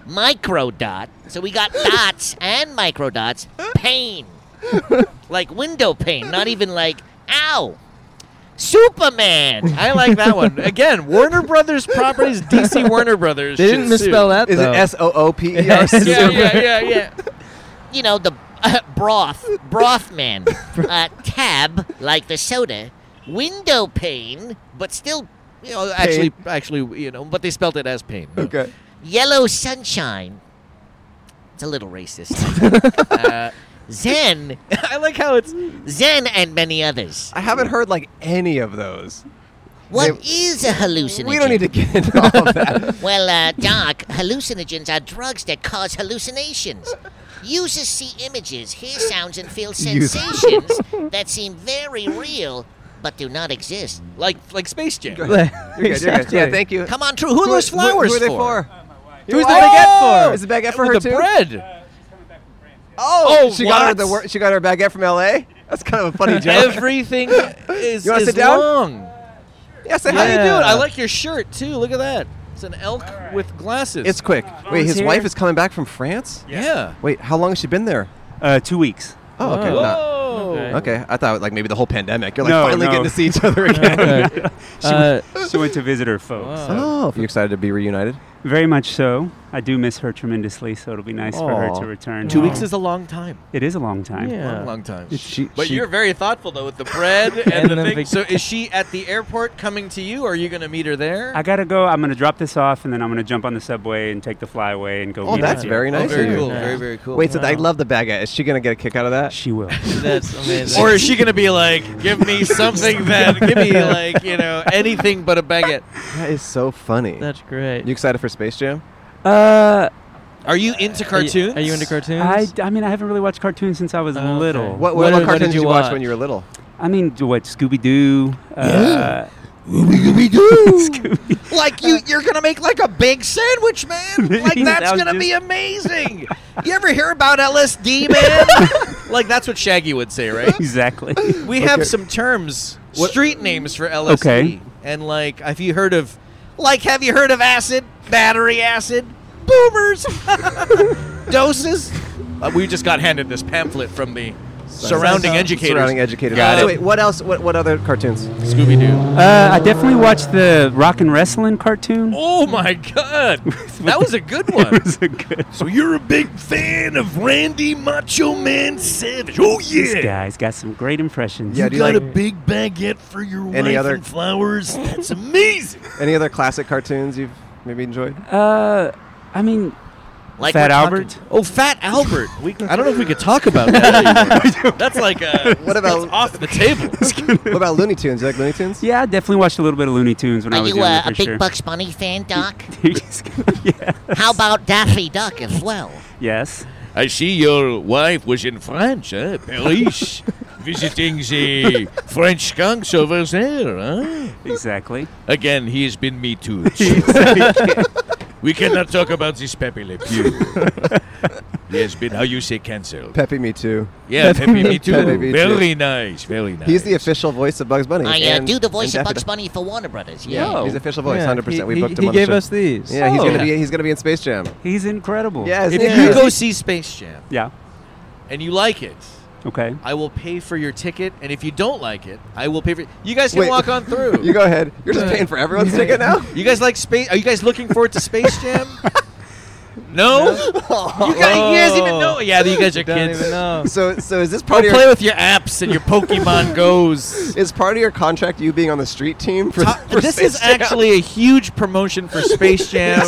Micro dot. So we got dots and micro dots. Pain. Like window pane, not even like, ow. Superman.
I like that one. Again, Warner Brothers properties, DC Warner Brothers.
They didn't
should
misspell
sue.
that,
Is it S O O P E R?
Yeah, yeah,
yeah, yeah.
you know the uh, broth broth man uh, tab like the soda window pane but still you know
Actually,
actually
actually, you know, but they spelled it as pain.
Okay.
yellow sunshine it's a little racist uh, zen
i like how it's
zen and many others
I haven't heard like any of those.
What is a hallucinogen
We don't need to get into all of that.
Well, uh, Doc, hallucinogens are drugs that cause hallucinations. Users see images, hear sounds, and feel
Users.
sensations that seem very real but do not exist.
Like like Space Jam.
You're good, you're good. Yeah, thank you.
Come on through. Who are those
who-
flowers
Who are they for?
for?
Who's the baguette for? Is the baguette for
With
her
the
too?
bread.
Oh,
Oh,
she got her
what?
the wor- she got her baguette from L.A. That's kind of a funny joke.
Everything is,
You wanna
is
sit down?
long.
Yeah, say
how you
Yeah.
doing? I like your shirt too. Look at that. It's an elk with glasses.
It's quick. Wait, his
Volunteer.
wife is coming back from France.
Yeah. Yeah.
Wait, how long has she been there? Uh, two weeks. Oh, okay.
Whoa.
not-
Whoa.
okay, I thought like maybe the whole pandemic. You're like
No,
finally
no.
getting to see each other again.
she, she went to visit her folks.
Oh, you're excited to be reunited?
Very much so. I do miss her tremendously, so it'll be nice for her
Aw.
to return.
Two weeks is a long time.
It is a long time.
Long, long time.
She,
But you're Oh, very thoughtful though with the bread and,
And
the
the
thing.
vac-
so is she at the airport coming to you? Or are you going to meet her there?
I gotta go. I'm gonna drop this off, and then I'm gonna jump on the subway and take the flyaway and go.
Oh,
meet
that's
you.
very nice.
very
of you.
cool, very, very cool.
Wait, so I
Wow.
love the baguette. Is she gonna get a kick out of that?
She will.
That's amazing. Or is she going to be like, give me something that, give me like, you know, anything but a baguette?
That is so funny. That's
great.
You excited for Space Jam?
Uh,
Are you into cartoons?
I, I mean, I haven't really watched cartoons since I was little.
What, what, what cartoons did you watch when you were little?
I mean, d- what Scooby Doo? Uh,
Like you, you're gonna make like a big sandwich, man. Like
That
that's
was
gonna
just-
be amazing. You ever hear about LSD, man? like that's what Shaggy would say, right?
Exactly.
We have some terms, street names for LSD,
Okay.
and like, have you heard of? Like, have you heard of acid, battery acid, boomers, doses? Uh, we just got handed this pamphlet from the Surrounding educators.
Surrounding educators.
Got
So
it.
Wait, what else? What, what other cartoons?
Scooby Doo.
Uh, I definitely watched the rock and wrestling cartoon.
Oh my god, that was a good one.
It was a good.
So you're a big fan of Randy Macho Man Savage? Oh yeah.
This guy's got some great impressions.
you got a big baguette for your
Any
wife
other-
and flowers? That's amazing.
Any other classic cartoons you've maybe enjoyed?
Uh, I mean,
Like
Fat
we're talking-
Albert.
Oh, Fat Albert. We, I don't know if we could talk about that. anymore. That's like uh
What about-
it's off the table?
what about Looney Tunes? You like Looney Tunes?
Yeah, I definitely watched a little bit of Looney Tunes when I
Are
was
you
younger
uh,
for
a big
sure.
Bugs Bunny fan, Doc?
yeah.
How about Daffy Duck as well?
Yes.
I see your wife was in France, huh? Paris, visiting the French skunks over there, huh?
Exactly.
Again, he has been me too. we cannot talk about this Pepe Le Pew. he has been, how you say, cancelled.
Peppy Me Too.
yeah, Pepe Me Too.
Pepe Me Too.
very nice, very nice.
He's the official voice of Bugs Bunny.
I uh,
and-
do the voice
and
of
Daffy
Bugs
Duck.
Bunny for Warner Brothers.
Yeah,
Yeah.
he's official voice,
Yeah,
hundred percent.
he-
We booked
he-
him.
he
on the
gave
show.
us these.
Yeah, he's
Oh.
gonna be he's gonna be in Space Jam.
He's incredible.
Yeah,
if
isn't he
you
crazy?
go see Space Jam
Yeah.
and you like it,
Okay.
I will pay for your ticket. And if you don't like it, I will pay for. You guys can
Wait.
walk on through.
You go ahead. You're just paying for everyone's ticket now.
You guys like space? Are you guys looking forward to Space Jam? no. You guys, you guys even know? Yeah, you guys are
Don't
kids.
even know.
So so is this
Go
part of
play
your
with your apps and your Pokemon Goes.
is part of your contract you being on the street team for, for
this
Space
is
Jam?
actually a huge promotion for Space Jam.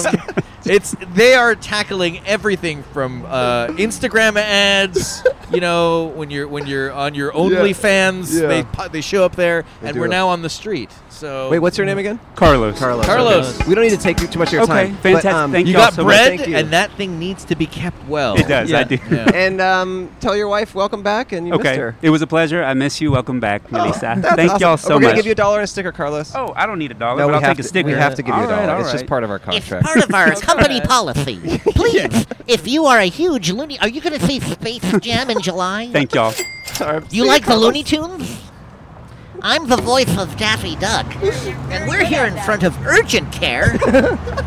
it's they are tackling everything from uh, Instagram ads. You know, when you're when you're on your OnlyFans,
Yeah.
they pu- they show up there,
They
and
do
we're
it.
now on the street. So
Wait, what's your name again?
Carlos.
Carlos.
Carlos.
Okay. We don't need to take too much of your
Okay,
time. um,
fantastic. Thank
you
y'all
got
so much.
bread,
Thank you.
and that thing needs to be kept well.
It does, I do.
yeah.
And um, tell your wife welcome back and you missed
Okay.
her.
It was a pleasure. I miss you. Welcome back, Melissa.
Oh, That's
Thank
awesome.
y'all
Oh,
so
We're
much.
gonna give you a dollar and a sticker, Carlos.
oh, I don't need a dollar,
we
but I'll
have
take
to,
a sticker.
We have to give you a
All right,
dollar.
all
It's just
right.
part of our
It's
Oh, contract.
part of our company policy. Please, if you are a huge loony, are you going to see Space Jam in July?
Thank y'all.
you like the Looney Tunes? I'm the voice of Daffy Duck, and we're here in front of Urgent Care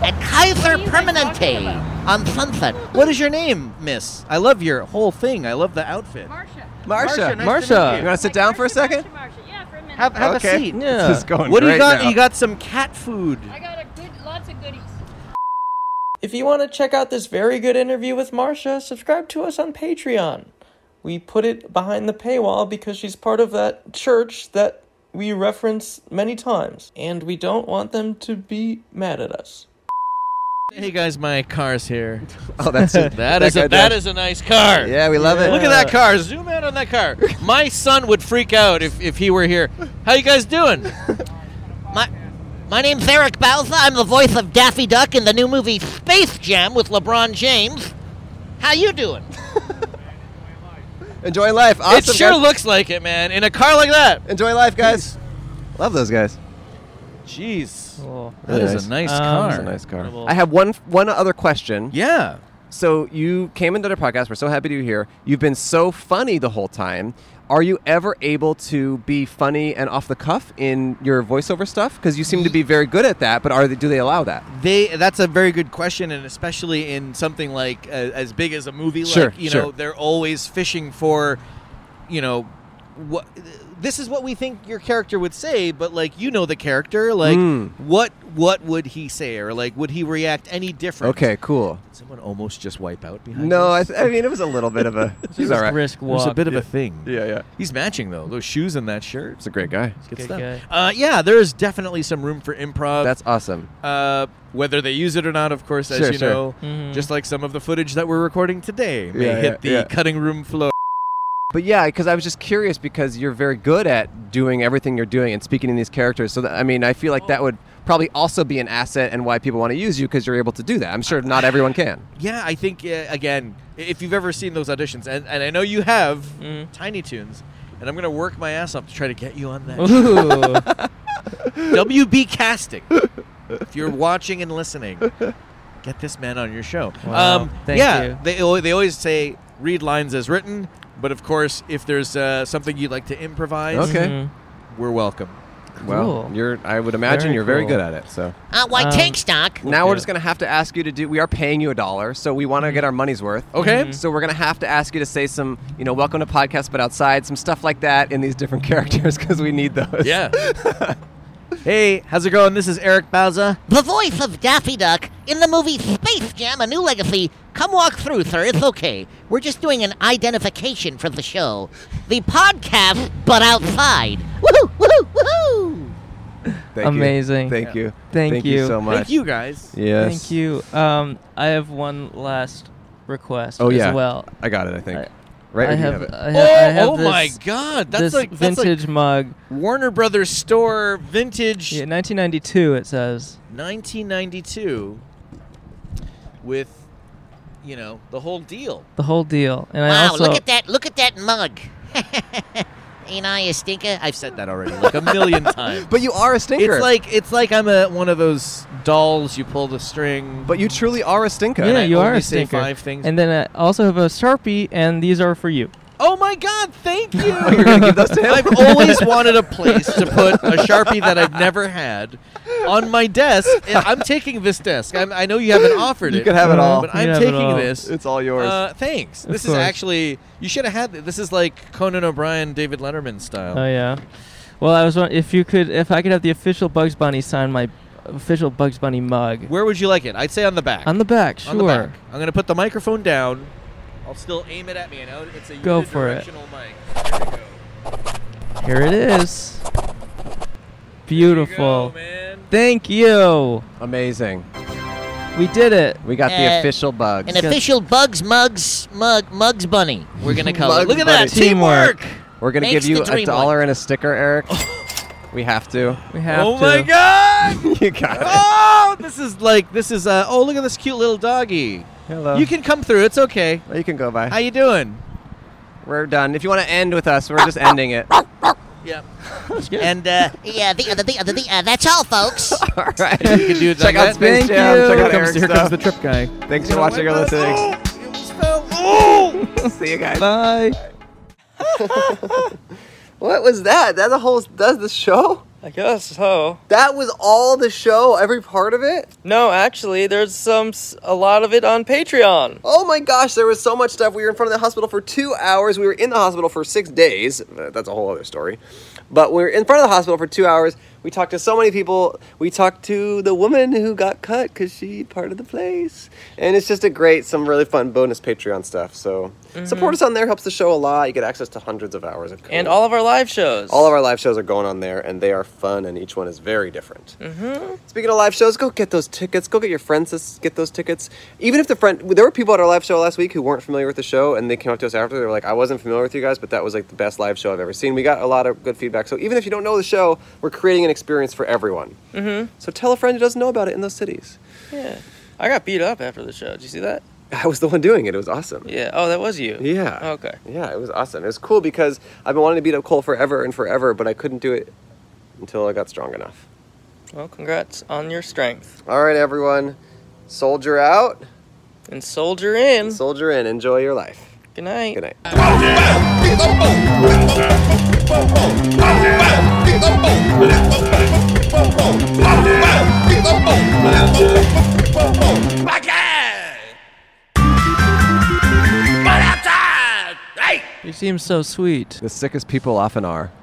at Kaiser Permanente on Sunset.
What is your name, Miss? I love your whole thing. I love the outfit.
Marsha.
Marsha,
nice
Marsha,
to meet you.
you. want to sit down for a second?
Yeah, for a minute.
Have, have
Okay.
a seat.
Yeah.
This is going
What do you
great
got?
now.
You got some cat food.
I got a good, lots of goodies.
If you want to check out this very good interview with Marcia, subscribe to us on Patreon. We put it behind the paywall because she's part of that church that we reference many times, and we don't want them to be mad at us.
Hey guys, my car's here.
Oh, that's it.
That is
guy
a, that
does.
is a nice car.
Yeah, we love it.
Look at that car. Zoom out on that car. My son would freak out if, if he were here. How you guys doing?
My, my name's Eric Bauza. I'm the voice of Daffy Duck in the new movie Space Jam with LeBron James. How you doing?
Enjoy life. Awesome.
it sure
guys.
looks like it, man. In a car like that.
Enjoy life, guys. Love those guys.
Jeez.
Cool.
That
Really
is a
Um,
nice car.
That's Um, a nice car. I have one one other question.
Yeah.
So you came into the podcast. We're so happy to be here. You've been so funny the whole time. Are you ever able to be funny and off the cuff in your voiceover stuff? Because you seem to be very good at that. But are they, do they allow that?
They that's a very good question, and especially in something like uh, as big as a movie,
Sure,
like you
sure.
know, they're always fishing for, you know, what this is what we think your character would say, but like you know the character, like
Mm.
what what would he say, or like would he react any different?
Okay, cool.
Did someone almost just wipe out behind.
No, I,
us?
th- I mean it was a little bit of a. He's all right.
Risk
it was
walk.
a bit of a thing.
Yeah, yeah.
He's matching though those shoes and that shirt.
He's a great guy.
Good
Good
stuff.
guy.
Uh, yeah, there is definitely some room for improv.
That's awesome.
Uh, whether they use it or not, of course, as
Sure,
you
sure.
know,
Mhm.
just like some of the footage that we're recording today may
Yeah,
hit
yeah,
the
yeah.
cutting room floor.
But yeah, because I was just curious because you're very good at doing everything you're doing and speaking in these characters. So that, I mean, I feel like that would probably also be an asset and why people want to use you because you're able to do that. I'm sure not everyone can.
Yeah, I think uh, again, i- if you've ever seen those auditions, and, and I know you have,
Mhm.
Tiny Tunes, and I'm gonna work my ass off to try to get you on that.
Ooh.
WB Casting. if you're watching and listening, get this man on your show. Um,
Wow, thank
yeah,
you.
they al- they always say read lines as written, but of course, if there's uh, something you'd like to improvise,
Okay.
Mhm.
we're welcome.
Well,
Cool.
you're. I would imagine
Very
you're Mm-hmm. very
cool.
good at it. So.
Uh, why
Um,
tank stock?
Now we're just gonna have to ask you to do. We are paying you a dollar, so we want to get our money's worth.
Okay. Mhm.
So we're gonna have to ask you to say some, you know, welcome to podcast, but outside, some stuff like that in these different characters because we need those.
Yeah. hey, how's it going? This is Eric Bauza.
The voice of Daffy Duck in the movie Space Jam: A New Legacy. Come walk through, sir. It's okay. We're just doing an identification for the show. The podcast, but outside. Woohoo! Woohoo! Woohoo!
Thank you.
Amazing.
Thank you.
Thank,
you. so much. Yes.
Thank you. Um, I have one last request.
Oh yeah.
As well.
I got it. I think. right.
I
or do you
have.
have
uh,
it?
I ha- I have
oh my
this-
God, that's
this
like- that's like-
vintage mug.
Warner Brothers store vintage
Yeah, 1992. It says.
1992 with you know, the whole deal.
The whole deal, and I
wow!
also
look at that! Look at that mug. Ain't I a stinker? I've said
That already like a million times.
But you are a stinker.
It's like it's like I'm a one of those dolls you pull the string.
But you truly are a stinker.
Yeah,
I
you are
only
a
say
stinker.
five things.
And then I also have a sharpie, and these are for you.
Oh my God! Thank you.
You're gonna give those to him?
I've always wanted a place to put a sharpie that I've never had on my desk. And I'm taking this desk. I'm, I know you haven't offered
You
it.
can have
Uh,
it all.
But
You
I'm
can have it all.
taking this.
It's all yours.
Uh, thanks.
Of
this is
course.
actually you should have had. th- This is like Conan O'Brien, David Letterman style.
Oh yeah. Well, I was wondering if you could, if I could have the official Bugs Bunny sign my official Bugs Bunny mug
Where would you like it? I'd say on the back.
on the back. Sure.
On the back. I'm gonna put the microphone down. I'll still aim it at me. You know, it's a
Go for it.
unidirectional mic.
Here it is. Beautiful. Thank you.
Amazing.
We did it.
We got
Uh,
the official bugs.
An official Bugs Mugs Mug Mugs Bunny. We're gonna call it.
Bugs
Look at
Bunny.
that teamwork.
We're gonna
Makes
give you
the dream
a dollar and a sticker, Eric. we have to.
We have
oh
to.
my god!
you got it.
Oh, this is like this is. Uh, oh, look at this cute little doggy.
Hello.
You can come through. It's okay.
Well, you can go by.
How you doing?
We're done. If you want to end with us, we're just ending it.
Yeah.
And uh, yeah, the other, the other, the uh, That's all, folks.
All right.
You can do it
Check out
like that.
Space
Thank
Jam.
you.
Check
Here
out
comes-
Eric's
here comes
stuff.
the trip guy.
Thanks for watching or listening. See you guys.
Bye.
What was that? That the whole that's the show?
I guess so.
That was all the show, every part of it?
No, actually, there's some s- a lot of it on Patreon.
Oh my gosh, there was so much stuff. We were in front of the hospital for two hours. We were in the hospital for six days. Uh, That's a whole other story. But we were in front of the hospital for two hours. We talked to so many people. We talked to the woman who got cut because she part of the place. And it's just a great, some really fun bonus Patreon stuff. So support us on there. Helps the show a lot. You get access to hundreds of hours of code.
Mm-hmm. And all of our live shows.
Oh. All of our live shows are going on there, and they are fun, and each one is very different. Mm-hmm. Speaking of live shows, go get those tickets. Go get your friends to s- get those tickets. Even if the friend, there were people at our live show last week who weren't familiar with the show, and they came up to us after. They were like, "I wasn't familiar with you guys, but that was like the best live show I've ever seen." We got a lot of good feedback. So even if you don't know the show, we're creating an experience for everyone.
Mm-hmm.
So tell a friend who doesn't know about it in those cities.
Yeah. I got beat up after the show. Did you see that?
I was the one doing it. It was awesome.
Yeah. Oh, that was you.
Yeah.
Okay.
Yeah, it was awesome. It was cool because I've been wanting to beat up Cole forever and forever, but I couldn't do it until I got strong enough.
Well, congrats on your strength.
All right, everyone. Soldier out.
And soldier in.
Soldier in. Enjoy your life.
Good night.
Good night.
But outside! Hey!
You seem so sweet.
The sickest people often are.